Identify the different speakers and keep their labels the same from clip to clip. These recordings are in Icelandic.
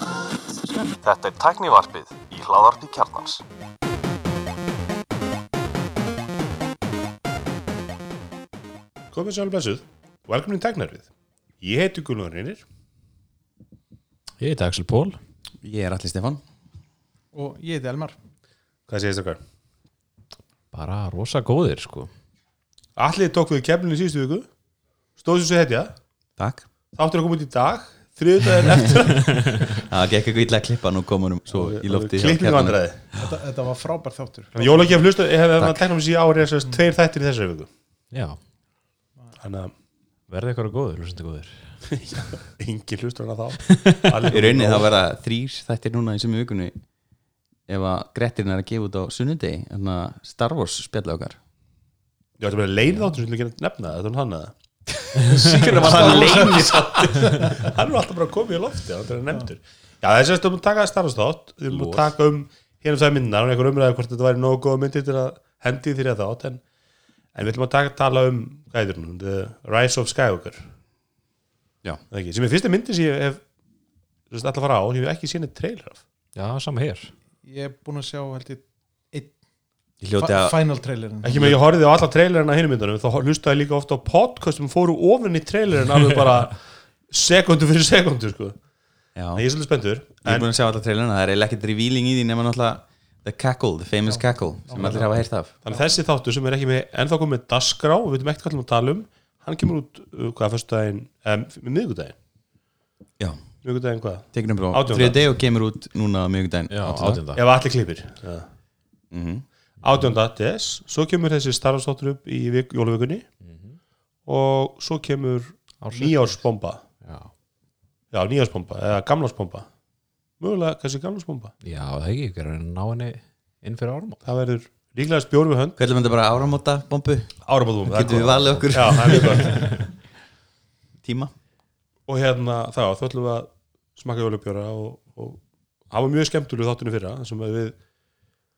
Speaker 1: Þetta er tæknivarpið í hláðarpi kjarnans.
Speaker 2: Komið sjálf blessuð, velkomin í tæknarfið. Ég heiti Gunnur Reynir
Speaker 3: Ég heiti Axel Pól
Speaker 4: Ég er Alli Stefan
Speaker 5: og ég heiti Elmar
Speaker 2: Hvað segist okkar?
Speaker 3: Bara rosa góðir sko
Speaker 2: Allir tók við kemlinu í síðustu viku, stóð sér svo hetja,
Speaker 4: Takk
Speaker 2: þáttur að koma út í dag, þriðudaginn eftir
Speaker 4: Það gekk eitthvað illa að klippa nú komunum svo í hérna. lofti hjá
Speaker 2: klippinu
Speaker 4: kjarnanum.
Speaker 2: vandræði.
Speaker 5: þetta, þetta var frábær þáttur
Speaker 2: Þannig jólagjöf hlusta, ég hef að tækna mig síðan árið þessast tveir þættir í þessari
Speaker 5: Mm.
Speaker 2: viku.
Speaker 3: Já,
Speaker 2: Þannig að
Speaker 3: verði eitthvað góðir, hlustandi góðir
Speaker 2: engin hlustur hana þá. Allir
Speaker 4: Í rauninni þá verða þrýr þættir núna í sömu vikunni ef að Grettirinn er að gefa út á sunnudegi þannig að Star Wars spjalla okkar
Speaker 2: Ég ætti að vera leið þáttur sem ég ekki nefna það, þannig hann að
Speaker 4: Sýkjörnum var það leini
Speaker 2: hann er alltaf bara að koma í lofti hann er nefndur já þess að við erum að taka starfstátt við erum að taka um hérna sæði myndina og einhver umræði hvort þetta væri nógu góð myndi til að hendi þér að þátt en, en við ætlum að taka, tala um hvað heitir hún The Rise of Skywalker
Speaker 4: Já.
Speaker 2: Er það ekki, sem er fyrsta myndi sem ég hef sem sagt, ætla að fara á, sem ég hef ekki séð neitt trailer af
Speaker 3: Já, sama hér
Speaker 5: ég er búinn að sjá held ég
Speaker 4: Ég hljóti
Speaker 5: fa-
Speaker 4: að
Speaker 5: final trailerin
Speaker 2: ekki með ég horfið á alla trailerina hinn myndunum þá hlustaði ég líka ofta á podcast sem fóru ofin í trailerin alveg bara sekundu fyrir sekundu sko.
Speaker 4: Já,
Speaker 2: en ég
Speaker 4: ég
Speaker 2: er svolítið spendur
Speaker 4: er búin að sjá alla trailerna það er eiginlega ekkert revealing í því nema náttúrulega The Cackle, The Famous Cackle sem allir hafa heyrt af
Speaker 2: Þannig að þessi þáttur sem er ekki með ennþá komið með dasgrá, við veitum ekkert hvað við ætlum að tala um hann kemur út, uh, hvað, fyrstudaginn um, miðgudaginn,
Speaker 4: Já,
Speaker 2: miðgudaginn hvað?
Speaker 4: tekinum bró
Speaker 2: Átjánda.
Speaker 4: Þriði deg og kemur út núna á miðvikudaginn
Speaker 3: Já, átjönda
Speaker 4: Átjánda.
Speaker 2: Ef allir klippir ja.
Speaker 4: Mhm.
Speaker 2: 18. DS, svo kemur þessi starfstáttur upp í vik, jólavikunni og svo kemur
Speaker 3: Ársins.
Speaker 2: nýjársbomba
Speaker 3: Já,
Speaker 2: já, nýjársbomba, eða gamlársbomba mögulega, kannski gamlársbomba
Speaker 3: Já, það ekki, ég er að ná henni inn fyrir árum
Speaker 2: það verður líklega spjór við hönd
Speaker 4: Hvað ætlum þetta bara áramóta bombu?
Speaker 2: árabóðum,
Speaker 4: Getum við valið okkur
Speaker 2: já, það er mjög gott
Speaker 4: tíma?
Speaker 2: og hérna þá, þá ætlum við að smakka jólubjóra og, og hafa mjög skemmtuleg þáttunum fyrra þar sem að við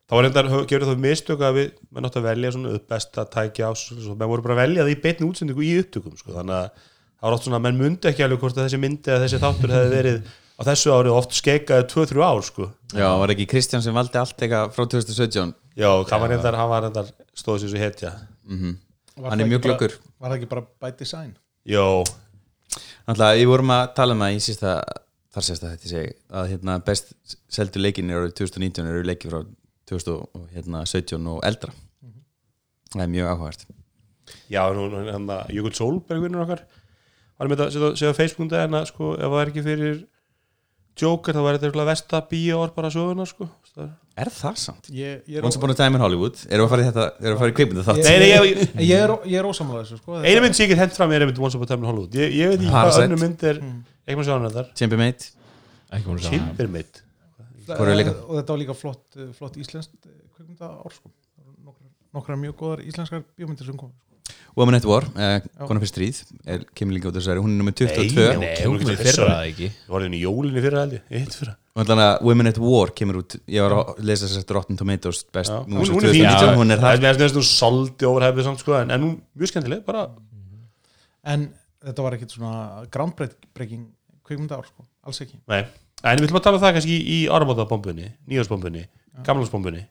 Speaker 2: þá var reyndar, gefur það mistök að við menn átti að velja svona upp besta tækja ás svo, menn voru bara að velja það í beinni útsendingu í upptökum sko, þannig að það var oft svona að menn mundi ekki alveg hvort að þessi myndi eða þessi þáttur hefði verið á þessu árið oft skeikaði 2-3 ár sko.
Speaker 4: Já, var ekki Kristján sem valdi allt eitthvað frá 2017
Speaker 2: já, það var reyndar, hann var reyndar stóð sér svo hetja
Speaker 4: Hann er mjög glöggur.
Speaker 5: var það ekki bara by design
Speaker 2: Jó,
Speaker 4: Þannig að við vorum að tala um að í sísta þar sérst að þetta segi að hérna, best seldu leikin eru 2019 eru leiki frá 2017 hérna, og eldra Það er mjög áhugavert
Speaker 2: Já, nú, nú, hann að Jökull Solberg vinnur okkar var með þetta að segja á Facebook en að sko, ef það er ekki fyrir Joker, þá var þetta eitthvað versta bíóar bara söguna, sko Það er-
Speaker 4: Er það samt?
Speaker 5: ég, ég er,
Speaker 4: Once upon a time in Hollywood erum við að fara í þetta, erum við að fara í kveipinu þátt
Speaker 2: Nei, nei,
Speaker 5: ég,
Speaker 2: ég-
Speaker 5: ég er, ég er ósamlega þessu sko.
Speaker 2: Einu mynd sem ég get hent fram er einmitt Once Upon a Time in Hollywood Ég, ég veit ekki hvað
Speaker 4: Parasite.
Speaker 2: önnu mynd er ekki maður sjá hann þetta
Speaker 4: Champion Mate
Speaker 3: Ekki múin að sjá hana.
Speaker 2: Timber mitt
Speaker 5: Þa-
Speaker 4: Hvor er líka?
Speaker 5: og þetta var líka flott, eh, flott íslenskt kveikmynda ár sko. nokkrar, nokkrar mjög góðar íslenskar bjómyndir sem sko. kom
Speaker 4: Woman at War, uh, konar fyrir stríð er, kemur líka út af þessari, hún er nummer 22
Speaker 2: Nei, nei.
Speaker 3: Kemur
Speaker 2: hún er
Speaker 3: ekki
Speaker 2: ekki
Speaker 3: fyrra
Speaker 2: fyrra.
Speaker 3: það ekki
Speaker 2: Það var einu jólinni fyrir held ég, eitt fyrir
Speaker 4: og þannig að Women at War kemur út ég var að lesa þess að Rotten Tomatoes best
Speaker 2: Hún,
Speaker 4: movies
Speaker 2: hún er fín
Speaker 4: 2019,
Speaker 2: Já,
Speaker 4: hún er
Speaker 2: það
Speaker 4: það
Speaker 2: Mér finnst þessi nú soldi overhefið samt, sko En, en hún, mjög skemmtileg, bara
Speaker 5: en þetta var ekkit svona groundbreaking kveikmynda ár sko. alls ekki
Speaker 2: Nei, en við ætlum að tala um það kannski í, í áramótabombunni Nýjósbombunni, gamlásbombunni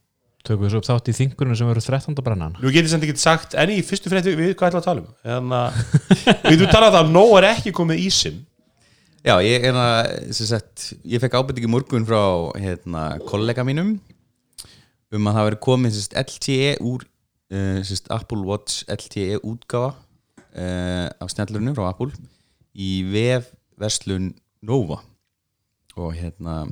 Speaker 3: Tökum við svo upp þátt í þingunum sem verður 13. brennan
Speaker 2: Nú getur sem ekki sagt, en í fyrstu frétt við, við hvað ætlum við að tala um en að, við þú talað það að nóg er ekki komið í sim
Speaker 4: Já, ég er að, sem sagt, ég fekk ábyrtingi morgun frá hérna, kollega mínum um að það veri komið sem sagt, LTE úr uh, sem sagt, Apple Watch LTE útgáfa uh, af snjallurinu frá Apple í vef verslun Nova og hérna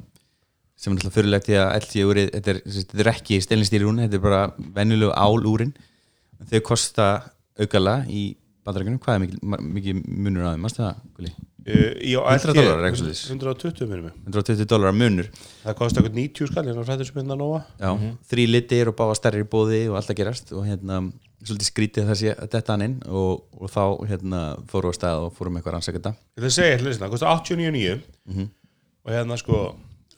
Speaker 4: sem er náttúrulega fyrirlegt því að LTE úrið þetta er, sem sagt, þetta er ekki stelnistýrún þetta er bara venjulegu álúrin þau kosta aukala í bandarækjunum, hvað er mikil, mar- mikið munur á þeim, mástu það, Gulli?
Speaker 2: uh, í,
Speaker 4: 100 dollarar, eitthvað svoleiðis.
Speaker 2: 120 minnum
Speaker 4: 120 dólarar munur
Speaker 2: það kosti eitthvað 90 skall hérna frættur sem hérna nóa
Speaker 4: Já, þrý litir og báða stærri bóði og allt að gerast og hérna, svolítið skrítið það sé þetta hann inn og, og þá hérna fórum við á stað og fórum eitthvað rannsaka þetta
Speaker 2: ég ætla að segja hérna, það kosti 89.9 og hérna sko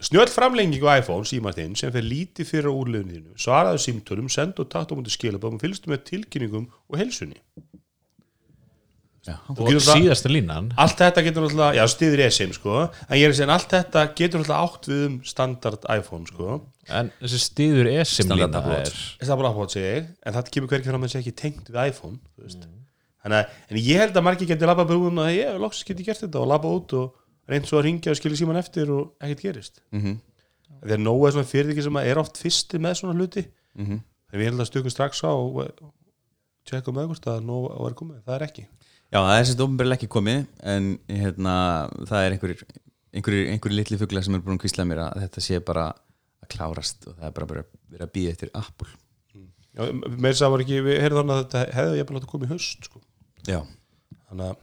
Speaker 2: snjöll framlenging á iPhone símartinn sem fer lítið fyrir á úrlefinu þínu svaraðu símtölum, sendu og takt á mútið skilabóðum fylgstu með tilkynningum og helsunni Þú
Speaker 3: og
Speaker 2: getur það-
Speaker 3: síðasta línan
Speaker 2: allt þetta getur náttúrulega, já stiður ég sem sko, en ég er að segja en allt þetta getur náttúrulega átt við um standard iPhone sko,
Speaker 3: en þessi stíður esim
Speaker 4: Standard
Speaker 3: lína
Speaker 4: Apple
Speaker 3: er
Speaker 4: Watch.
Speaker 2: þess að bara áhuga sig en það kemur hvergi fram að segja ekki tengt við iPhone þú veist,
Speaker 4: Mm.
Speaker 2: þannig að, en ég held að margir getur labba bara út að ég, loks get ég gert þetta og labba út og reynd svo að ringja og skilja síman eftir og ekkert gerist
Speaker 4: Mhm.
Speaker 2: þegar nógu er svona fyrirtæki sem að er oft fyrsti með svona hluti
Speaker 4: Mhm.
Speaker 2: þegar við held að stökum strax á og og tjekkum með hvort að nógu er komið, það er ekki
Speaker 4: Já, það er sérst ofnbjörlega ekki komið en hérna, það er einhverjir einhverjir, einhverjir litli fugla sem er búin að kvísla mér að þetta sé bara að klárast og það er bara að vera- vera að býða eftir Apple
Speaker 2: Já, meir það var ekki, við heyrðum þannig að þetta hefði ég bara látið að koma í haust sko.
Speaker 4: Já,
Speaker 2: þannig að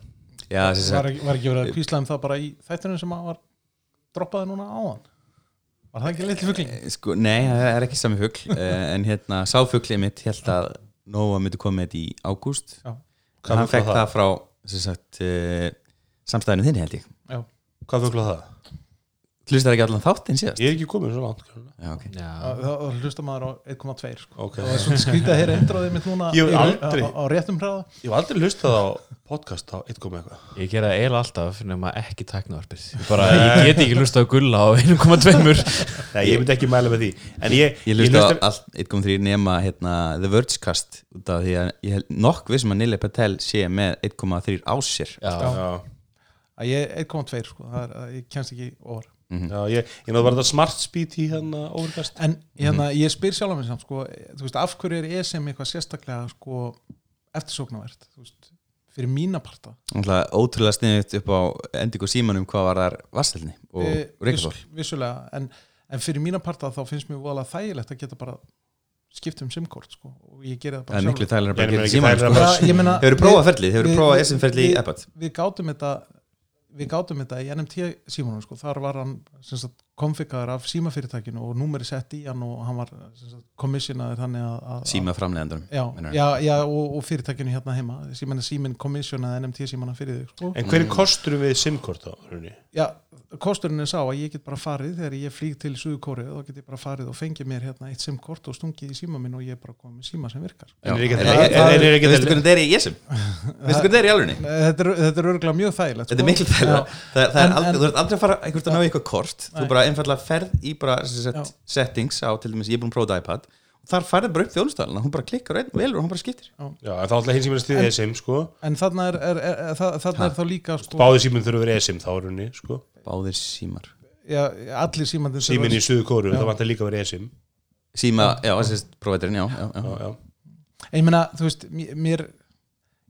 Speaker 4: Já sem
Speaker 5: var,
Speaker 4: sagt,
Speaker 5: ekki- var ekki verið að kvísla um það bara í þættunum sem að var droppaði núna áðan var það ekki litli fuggling?
Speaker 4: sko, nei, það er ekki sami fugl eh, en hérna, sáfuglið mitt held að Nóa myndi komið þetta í ágúst
Speaker 5: Já.
Speaker 2: Hvað
Speaker 4: hann
Speaker 2: fugl
Speaker 4: fekk
Speaker 2: var
Speaker 4: það frá sem sagt, eh, samstæðinu þinn held ég
Speaker 5: Já,
Speaker 2: hvað fugla það?
Speaker 4: Hlustar ekki allan þáttinn síðast?
Speaker 2: Ég er ekki komin svo langt sko. Karolína.
Speaker 4: Já, ok
Speaker 3: já,
Speaker 5: það það hlusta maður á 1,2 sko.
Speaker 2: Ok.
Speaker 5: og það er svona skrítið að heyra introðið mitt núna
Speaker 2: Ég hef
Speaker 5: í-
Speaker 2: aldrei-
Speaker 5: á, á réttum hraða
Speaker 2: Ég hef aldrei hlustað á podcast á 1,1 eitthvað
Speaker 3: ég gera það eiginlega alltaf nema ekki tæknavarpið ég, bara, ég get ekki hlusta á gulla á 1,2
Speaker 2: Nei, ég myndi ekki mæla með því En ég,
Speaker 4: Ég hlusta á allt 1.3 nema hérna, The Vergecast út af því að ég held nokk við sem að Nili Patel sé með 1.3 á sér
Speaker 3: já,
Speaker 2: Já,
Speaker 5: að ég er 1,2 sko, það er, að ég kemst ekki over
Speaker 4: Mhm.
Speaker 2: já ég, ég náðu bara þetta smart speed í hérna overcast
Speaker 5: en hérna,
Speaker 4: Mhm.
Speaker 5: ég spyr sjálf að mér samt sko, þú veist, af hverju er ESM eitthvað sérstaklega sko, eftirsóknarvert þú veist, fyrir mína parta
Speaker 4: Náttúrulega ótrúlega sniðut upp á endingu símanum hvað var þar vasselni og e,
Speaker 5: Eh, viss- vissulega, en, en fyrir mína parta þá finnst mér voðalega þægilegt að geta bara skipt um simkort sko, og ég geri það
Speaker 4: Það
Speaker 5: bara
Speaker 4: er miklu
Speaker 5: sjálfur.
Speaker 4: tælar að bara
Speaker 2: Ég meina
Speaker 4: gera
Speaker 2: ekki
Speaker 4: símanum
Speaker 2: þægilegra
Speaker 4: sko.
Speaker 2: bara-
Speaker 5: Bara, ég meina,
Speaker 4: Hefur
Speaker 5: við-
Speaker 4: prófað ferlið, hefur
Speaker 5: við-
Speaker 4: prófað
Speaker 5: við-
Speaker 4: SM ferlið í
Speaker 5: við-
Speaker 4: Ebbot
Speaker 5: við gátum þetta við gátum þetta í NMT símanum sko. þar var hann sem sagt, konfikaður af símafyrirtækinu og númeri sett í hann og hann var sem sagt, komissionaður þannig að, að
Speaker 4: Síma framlegandunum
Speaker 5: já,
Speaker 4: meinar.
Speaker 5: já, já, og, og fyrirtækinu hérna heima síminn símin komissionaði NMT símana fyrir þig sko.
Speaker 2: En hver er kosturum við simkort á? Rúni?
Speaker 5: já, kosturinn er sá að ég get bara farið þegar ég flýg til Suðukórið þá get ég bara farið og fengið mér hérna eitt simkort og stungið í síma minn og ég er bara komið með síma sem virkar
Speaker 2: En er ekki-
Speaker 4: Veistu
Speaker 2: en- en- en er ekki-
Speaker 4: hvernig þetta er í ESM? Veistu hvernig þetta er í alvegni?
Speaker 5: þetta er, þetta er örgulega mjög þægilegt
Speaker 4: Þetta er
Speaker 5: sko.
Speaker 4: miklu tælar
Speaker 5: Já. En- en-
Speaker 4: Þú ert aldrei að fara einhvert að ná í eitthvað kort Þú
Speaker 5: Nei.
Speaker 4: bara einfallega ferð í bara sem
Speaker 5: Já.
Speaker 4: sagt, settings á til dæmis ég er búin að prófa þetta iPad og þar færði bara upp þjónustalina hún bara klikkar og einn velur og hún bara skiptir
Speaker 2: Já, en þá alltaf hins sem er stiðið sim sko
Speaker 5: En þarna er, er, er, er, þa- þarna er þá líka sko,
Speaker 2: Báði síminn þurfa að vera esim þá runni sko
Speaker 4: Báðir símar
Speaker 5: já, allir símandir
Speaker 2: Síminn í suðu kóru,
Speaker 5: Já.
Speaker 2: það vantar líka að vera esim
Speaker 4: Síma, já, þessi prófætturinn, já, já, já.
Speaker 2: Já, já
Speaker 5: Ég meina, þú veist, mér- mér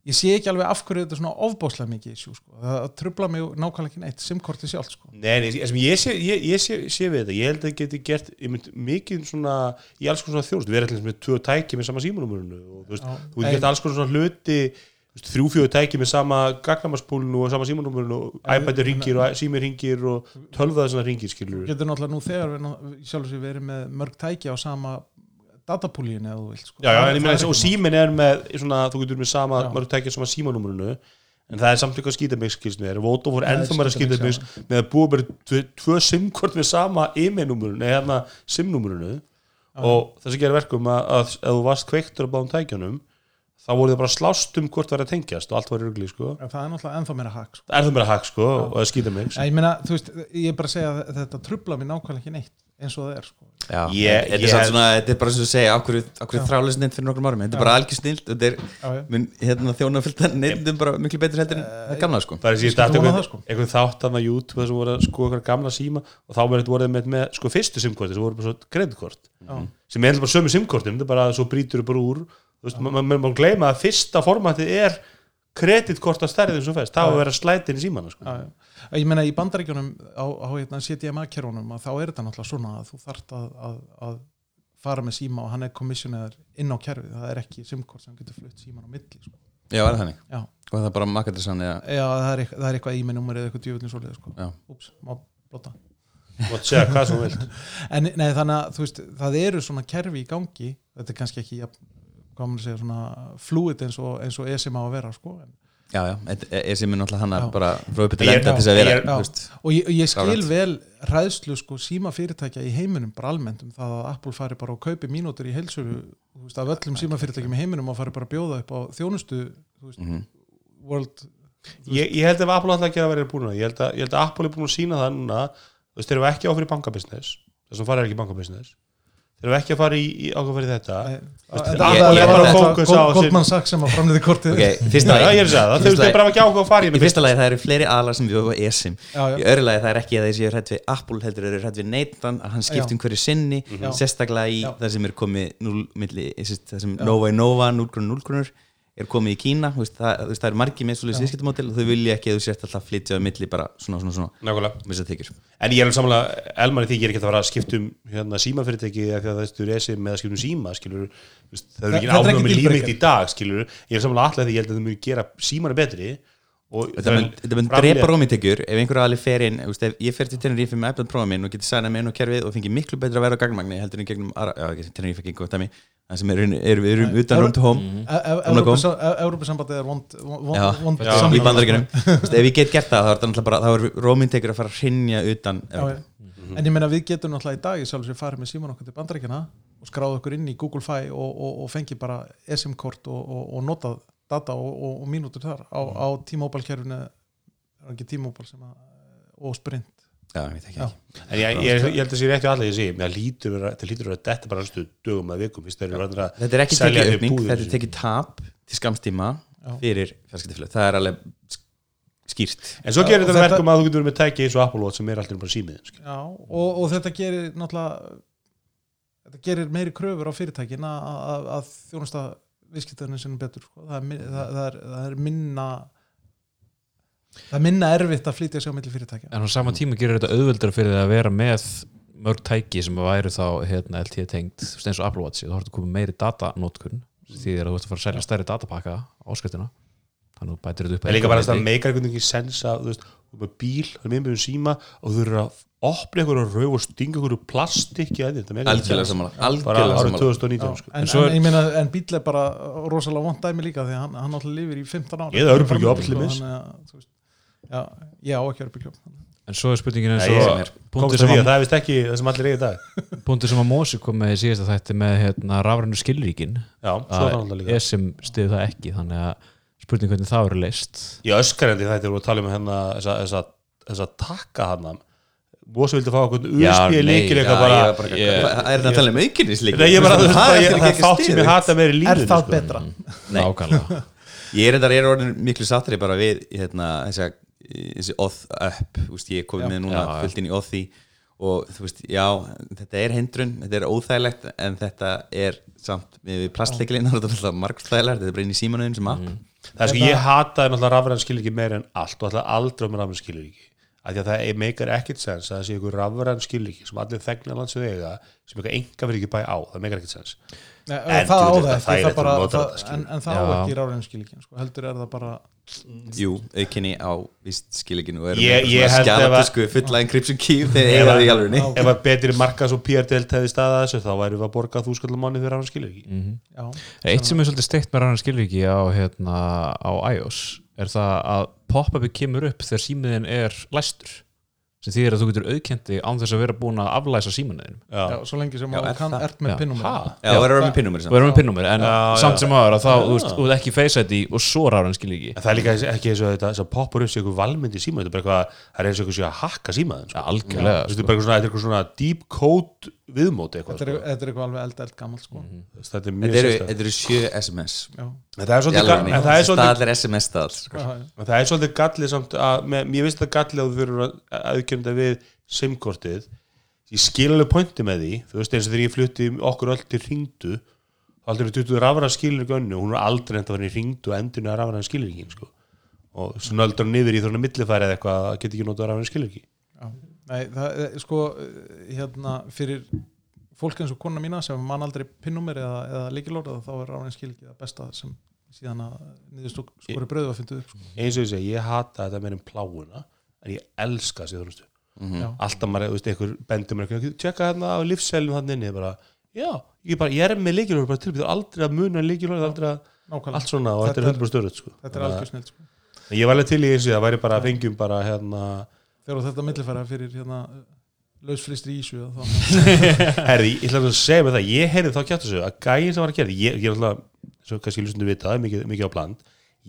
Speaker 5: ég sé ekki alveg af hverju þetta er svona ofbáslega mikið issue, sko. það trubla mig nákvæmlega ekki neitt, simkortið sjálf sko.
Speaker 2: Nei, nei, sem ég sé, ég, ég sé, sé við þetta ég held að geti gert ég mynd, mikið svona, í alls konar svona þjónust við erum allir með tvö tæki með sama símanúmurinu og þú veist,
Speaker 5: Já.
Speaker 2: þú getur gert alls konar svona hluti þú veist, þrjú fjögur tæki með sama gagnamaspúlinu og sama símanúmurinu og iPad ringir og sími ringir og tölvaða svona ringir
Speaker 5: Þú
Speaker 2: skilur
Speaker 5: getur náttúrulega nú þegar við, ná- sjálf sér verið með mörg tæki á sama datapúlíinu eða þú vilt sko.
Speaker 2: Já, já, en ég
Speaker 5: Það
Speaker 2: meina
Speaker 5: er
Speaker 2: þess
Speaker 5: ekki
Speaker 2: og símin er með svona, þú getur með sama,
Speaker 5: Já.
Speaker 2: maður tækja sama símanúmurinu en það er samt eitthvað skítamix skilst mér Vóta fór
Speaker 5: Það er
Speaker 2: ennþá maður að
Speaker 5: skítamix,
Speaker 2: skítamix með að búa bara tvö, tvö simkort með sama e-mail-númurinu, eða hérna simnúmurinu og þess að gera verkum um að, að ef þú varst kveiktur á báðum tækjunum þá voru þið bara að slást um hvort var að tengjast og allt var í rugli, sko
Speaker 5: nóg- Það er náttúrulega ennþá meira hack sko.
Speaker 2: Það er það bara hack, sko, og það skýta mig
Speaker 5: Ég meina, þú veist, ég er bara að segja að þetta trubla mig nákvæmlega ekki neitt eins og það er sko.
Speaker 4: já.
Speaker 2: Ég-
Speaker 4: Þetta-
Speaker 2: ég
Speaker 4: þetta, er samt
Speaker 2: held-
Speaker 4: svona, þetta er bara sem þú segja, okkur, okkur
Speaker 5: Já.
Speaker 4: þrálega snill fyrir nokkrum árum, þetta er bara algjör snill þetta er
Speaker 5: Já, já.
Speaker 4: minn, hérna, þjónafylta neyndum bara miklu betur heldur en það gamla sko
Speaker 2: Það er
Speaker 5: Ég
Speaker 2: síðan
Speaker 5: skal vona
Speaker 2: eitthvað,
Speaker 5: það, sko.
Speaker 2: eitthvað þáttan á YouTube þess að voru að sko eitthvað gamla síma og þá voru þetta voruð með, með sko fyrstu simkorti sem voru bara svo greiðkort
Speaker 5: Já.
Speaker 2: sem er bara sömu simkortum, þetta er bara að svo brýtur bara úr þú veist, maður ma ma ma gleyma að fyrsta formatið er kreditkort að stærðin svo fæst, það var að vera slætin í símana sko.
Speaker 5: Já, já. ég meina í bandaríkjunum á, á hérna, CDMA-kerunum að þá er þetta náttúrulega svona að þú þart að, að, að fara með síma og hann er komissionaður inn á kerfið, það er ekki simkort sem getur flutt síman á milli sko.
Speaker 4: já, er það þannig,
Speaker 5: já.
Speaker 4: og það er bara makkartissan eða,
Speaker 5: Já, það, er, eitth- það er eitthvað í með númerið eitthvað djöfullin svoleið sko.
Speaker 4: já,
Speaker 5: Úps, má blota
Speaker 2: og að segja hvað sem þú vilt
Speaker 5: en nei, þannig að þú veist, það eru svona kerfi í gangi, þetta er kannski ekki jafn, hvað maður að segja, svona fluid eins og, eins og ESM á að vera sko. en,
Speaker 4: já, já þetta er- ég sem er náttúrulega hannar
Speaker 5: Já.
Speaker 4: bara frá uppi til
Speaker 2: Ég-
Speaker 4: enda til þess að
Speaker 2: já,
Speaker 4: vera
Speaker 2: ég-
Speaker 4: þú veist.
Speaker 5: og ég, og ég skil
Speaker 4: Klárt.
Speaker 5: vel hræðslu sko síma fyrirtækja í heiminum bara almennt um það að Apple fari bara og kaupi mínútur í heilsölu þú veist, af öllum síma fyrirtækjum í heiminum og fari bara að bjóða upp á þjónustu þú veist,
Speaker 4: Mhm.
Speaker 5: World
Speaker 2: ég, ég held ef Apple ætlaði að gera verið búin að ég held að, ég held að Apple er búin að sína það núna þú veist, þeir eru ekki á fyrir bankabusiness þess að fara ekki í bankabusiness þeir eru ekki að fara í, í ákvæm fyrir þetta
Speaker 5: eh,
Speaker 4: Apple er bara
Speaker 2: fókus á sér-
Speaker 5: Goldman Sachs sem að framleiði kortið
Speaker 4: Ok, fyrsta
Speaker 2: Já, ég er að segja það, þeir eru bara ekki ákvæm að fara í
Speaker 4: Í
Speaker 2: þetta
Speaker 4: fyrsta lagi það eru fleiri aðlar sem við varum esim
Speaker 5: Já, já.
Speaker 4: Í öðru lagi það er ekki að þeir séu hrætt við Apple heldur þeir eru hrætt við Nathan að hann skipt
Speaker 5: Já.
Speaker 4: um hverju sinni
Speaker 2: Mhm.
Speaker 5: Já.
Speaker 4: sérstaklega í
Speaker 5: Já.
Speaker 4: það sem er komið núl, milli, sérst, það sem Nova í Nova 0 grunn 0 grunnur er komið í Kína þú veist, það, þú veist, það er margi með svolítið viðskiptamódel og þau vilja ekki að þú sért alltaf að flytja á milli bara svona svona svona
Speaker 2: Nákvæmlega.
Speaker 4: missa þykir
Speaker 2: En ég er alveg samanlega, Elmar í því ég er ekki að fara að skiptum hérna, símafyrirtæki eða því að þetta er esi með að skiptum síma, skilur það
Speaker 5: Þa-
Speaker 2: er ekki
Speaker 5: þetta er
Speaker 2: áfram
Speaker 5: ekki
Speaker 2: með líf
Speaker 5: dealbreaker.
Speaker 2: mitt í dag, skilur ég er samanlega alltaf því ég held að það muni gera símanu betri og
Speaker 4: Þetta mun, þetta mun drepa rómitekjur ef einhver aðli fer inn, þú veist, ef ég fer til Tenerife með iPad Pro minn og geti sæna með einu kerfið og fengi miklu betra að vera á gagnmagni heldur en í gegnum aðra, já, ekki, Tenerife er ekki gott dæmi, það sem er, er, er, er utan round to home
Speaker 5: E- Mhm.
Speaker 4: Gamla góð.
Speaker 5: Európusambandið E- er vond
Speaker 4: Já,
Speaker 5: vond
Speaker 4: já, í bandaríkjunum Vist, ef ég get gert það, þá er, það náttúrulega bara, þá er rómyndegur að fara að hrinja utan
Speaker 5: Já, já. En ég meina við getum náttúrulega í dag í sjálf sér farið með síman okkur til bandaríkjana og skráðu okkur inn í Google Fi og, og, og fengi bara SM-kort og, og, og notað data og, og, og mínútur þar á, á T-Mobile kerfinu er ekki T-Mobile sem að eh, og Sprint
Speaker 4: já, ég veit ekki
Speaker 5: Já.
Speaker 2: En ég, ég, ég, held að það sé rétt við alla ég sé, það lítur vera, það lítur vera detta bara næstu dögum að vikum, fyrst þeir eru verður að
Speaker 4: Þetta er ekki
Speaker 2: selja
Speaker 4: tekið
Speaker 2: þau
Speaker 4: aukning,
Speaker 2: búðir
Speaker 4: þetta er
Speaker 2: sínar.
Speaker 4: tekið tap til skamstíma
Speaker 5: Já.
Speaker 4: fyrir fjarskiptaflöð, það er alveg sk- skýrt
Speaker 2: En svo gerir
Speaker 5: Og
Speaker 2: þetta
Speaker 5: þetta-
Speaker 2: verkum að þú getur verið með tæki eins og Apple Watch sem er alltaf bara símið
Speaker 5: Já, og, og þetta gerir náttúrulega þetta gerir meiri kröfur á fyrirtækin að, að, að þjónusta viðskiptarnir sinni betur sko. það, er, mi- það, það, er, það er minna það er minna erfitt að flytja sig á milli fyrirtækja
Speaker 3: en á sama tíma gerir þetta auðveldara fyrir það að vera með mörg tæki sem væri þá hérna, LTE tengt, þú veist, eins og Apple Watch þú horfði að koma meiri datanótkun því að þú ert að fara að selja stærri datapakka áskriftina þannig að þú bætir þetta upp E
Speaker 2: En líka bara að það
Speaker 3: með
Speaker 2: meikar einhvern veginn sens að þú veist, þú ert með bíl, þú er með með síma og þú eru að opna einhverju rau og stinga einhverju plastikki að þér, þetta meikar
Speaker 4: algjörlega
Speaker 2: sens.
Speaker 4: sammála,
Speaker 2: bara
Speaker 4: algjörlega
Speaker 2: árið
Speaker 4: sammála
Speaker 2: 2019
Speaker 5: Já,
Speaker 2: sko.
Speaker 5: en,
Speaker 3: svo
Speaker 5: en,
Speaker 3: er-
Speaker 5: ég meina, en bíl er bara rosalega vond dæmi líka því að hann, hann alltaf lifir í 15 ára
Speaker 2: Ég er örbylgjuofn til dæmis.
Speaker 5: Já, ég á ekki örbylgjóp
Speaker 3: en svo er spurningin eins
Speaker 2: Nei, ég sem
Speaker 3: og
Speaker 2: er.
Speaker 3: punktur
Speaker 2: Komst að
Speaker 3: sem,
Speaker 2: því að
Speaker 3: að-
Speaker 2: það er vist ekki það sem allir eigið dag
Speaker 3: punktur sem að Mósi kom með í síðasta þætti með hérna, rafrænu skilríkin
Speaker 2: Já, svo er það alltaf
Speaker 3: að
Speaker 2: líka
Speaker 3: ESM stiði það ekki þannig að spurning hvernig það verður leist
Speaker 2: Ég öskarandi þetta er að tala um hérna þessa, þessa, þessa takka hann Mósi vildi fá okkur USB líkil eitthvað bara
Speaker 4: Hvað- er það að tala um aukinnis líka
Speaker 2: Nei, ég bara, þú veist,
Speaker 4: það
Speaker 2: bara,
Speaker 4: er
Speaker 2: ég-
Speaker 4: eftir
Speaker 2: það er
Speaker 4: að gegja
Speaker 2: þátt sem
Speaker 4: stiðu
Speaker 2: ég hata meir í
Speaker 5: Er
Speaker 2: lífinu
Speaker 5: það
Speaker 2: sko.
Speaker 5: betra?
Speaker 3: nákvæmlega
Speaker 4: ég er þetta, ég er orðin miklu sattri bara við hérna, þessa, þessi off up úst, ég er komið með núna
Speaker 3: Já, já.
Speaker 4: fullt inn í offi og þú veist, já, þetta er hindrun þetta er óþægilegt en þetta er samt með plastleiklinn þetta er alltaf margstæðilegt, þetta er bara inn í símanuðin sem app
Speaker 2: Það er sko, ég hataði náttúrulega rafræn skilríki meir en allt og alltaf aldrei með rafræn skilríki af því að það er- meikar ekkert sens að það sé einhver rafræn skilríki sem allir þegnar landsið eiga sem eitthvað enga verið ekki bæ á, það meikar ekkert sens
Speaker 5: Nei,
Speaker 2: En
Speaker 5: það á
Speaker 2: djúvill er það
Speaker 5: það ekki, það
Speaker 2: þægilegt
Speaker 5: bara,
Speaker 2: að nota
Speaker 5: það,
Speaker 2: þetta, skilur.
Speaker 5: en, en það á
Speaker 3: Já.
Speaker 5: ekki ráðinskilíkin sko. heldur er það bara
Speaker 4: jú, aukinni á vist skilíkinu og
Speaker 2: Ég-
Speaker 4: erum
Speaker 2: ég held ef að-
Speaker 4: skjalatisku fulla encryption key þegar eiga það í alveg
Speaker 5: Já.
Speaker 2: ef að betri markas og PR-delt hefði staða þessu þá væri við að borga þúskallum mánu fyrir rafræn skilríki
Speaker 5: já,
Speaker 3: Eitt sem er svolítið steikt með rannar skilviki á, hérna, á iOS er það að pop-upið kemur upp þegar símiðin er læstur sem þýðir að þú getur auðkendi án þess að vera búin að aflæsa símanuðinum
Speaker 5: já, svo lengi sem
Speaker 4: Já,
Speaker 5: að
Speaker 4: er
Speaker 5: þú kann-
Speaker 4: það?
Speaker 5: ert með
Speaker 3: Já.
Speaker 5: pinnum
Speaker 2: Ha?
Speaker 4: já, og erum við pinnum er
Speaker 3: og erum við pinnumir, en
Speaker 2: Já, já.
Speaker 3: samt sem aður að þá, þú veist, þú veist ekki face ID og svo rannar skilviki
Speaker 2: En það er líka ekki eins og þetta þess að poppar upp sér eitthvað valmynd í símaðin, þetta er bara eitthvað, það er eins og eitthvað sér að hakka símaðin, sko.
Speaker 3: algjörlega,
Speaker 2: Þetta er bara eitthvað svona, þetta er eitthvað svona deep code viðmóti eitthvað,
Speaker 5: þetta er
Speaker 2: sko.
Speaker 5: þetta er eitthvað alveg eld, eld gammal sko.
Speaker 2: Þetta er mjög
Speaker 4: þetta eru-
Speaker 2: sérstæð.
Speaker 4: þetta eru sjö SMS
Speaker 5: já,
Speaker 2: Það er
Speaker 4: í
Speaker 2: svolítið,
Speaker 4: alveg
Speaker 2: ga- en það er svolítið,
Speaker 4: staðlar SMS staðall sko.
Speaker 5: já, já.
Speaker 2: en það er svolítið gallið samt að, með, ég veist það er gallið að þú fyrir að auðkjönda við simkortið, ég skil alveg pointi með því, þú veist eins og þegar ég flutti okkur öll til ringdu, aldrei við tuttuðu rafræðan skilur önnu, hún er aldrei enda að vera í ringdu endinu að rafræðan skilur sko. og svona öldra niður í þrjóna millifæri eða eitthvað, það geti ekki notað rafræðan skilur
Speaker 5: Já. Nei, það er sko eh, hérna fyrir fólk eins og kona mína sem man aldrei pinnumir eða, eða líkilorða þá er ráðin skilgi það besta sem síðan að niðurstokk skori bröðu að fyndu upp sko.
Speaker 2: eins og ég segi, ég hata þetta meira um pláuna en ég elska þessi þjónustu
Speaker 5: Já.
Speaker 2: alltaf maður, þú veist, einhver bendur mér eitthvað, tjekka hérna á lífsælum þannig inni bara, já, ég, bara, ég er með líkilorð bara tilbyrð, aldrei að muna líkilorð aldrei að
Speaker 5: nákvæmlega,
Speaker 2: allt svona og þetta er
Speaker 5: Þetta er-
Speaker 2: 100 störuð sko.
Speaker 5: þetta er
Speaker 2: Þannig
Speaker 5: algjör snill sko.
Speaker 2: að- ég var alveg til í eins og það væri bara að fengjum bara hérna,
Speaker 5: þegar þetta millifæra fyrir hérna lausfristri ísju þá,
Speaker 2: herði, ég ætla að segja með það ég heyrði þá kjátt þessu að gæin sem var að gera ég, ég er alltaf, svo kannski lústundu vita, það er mikið, mikið á bland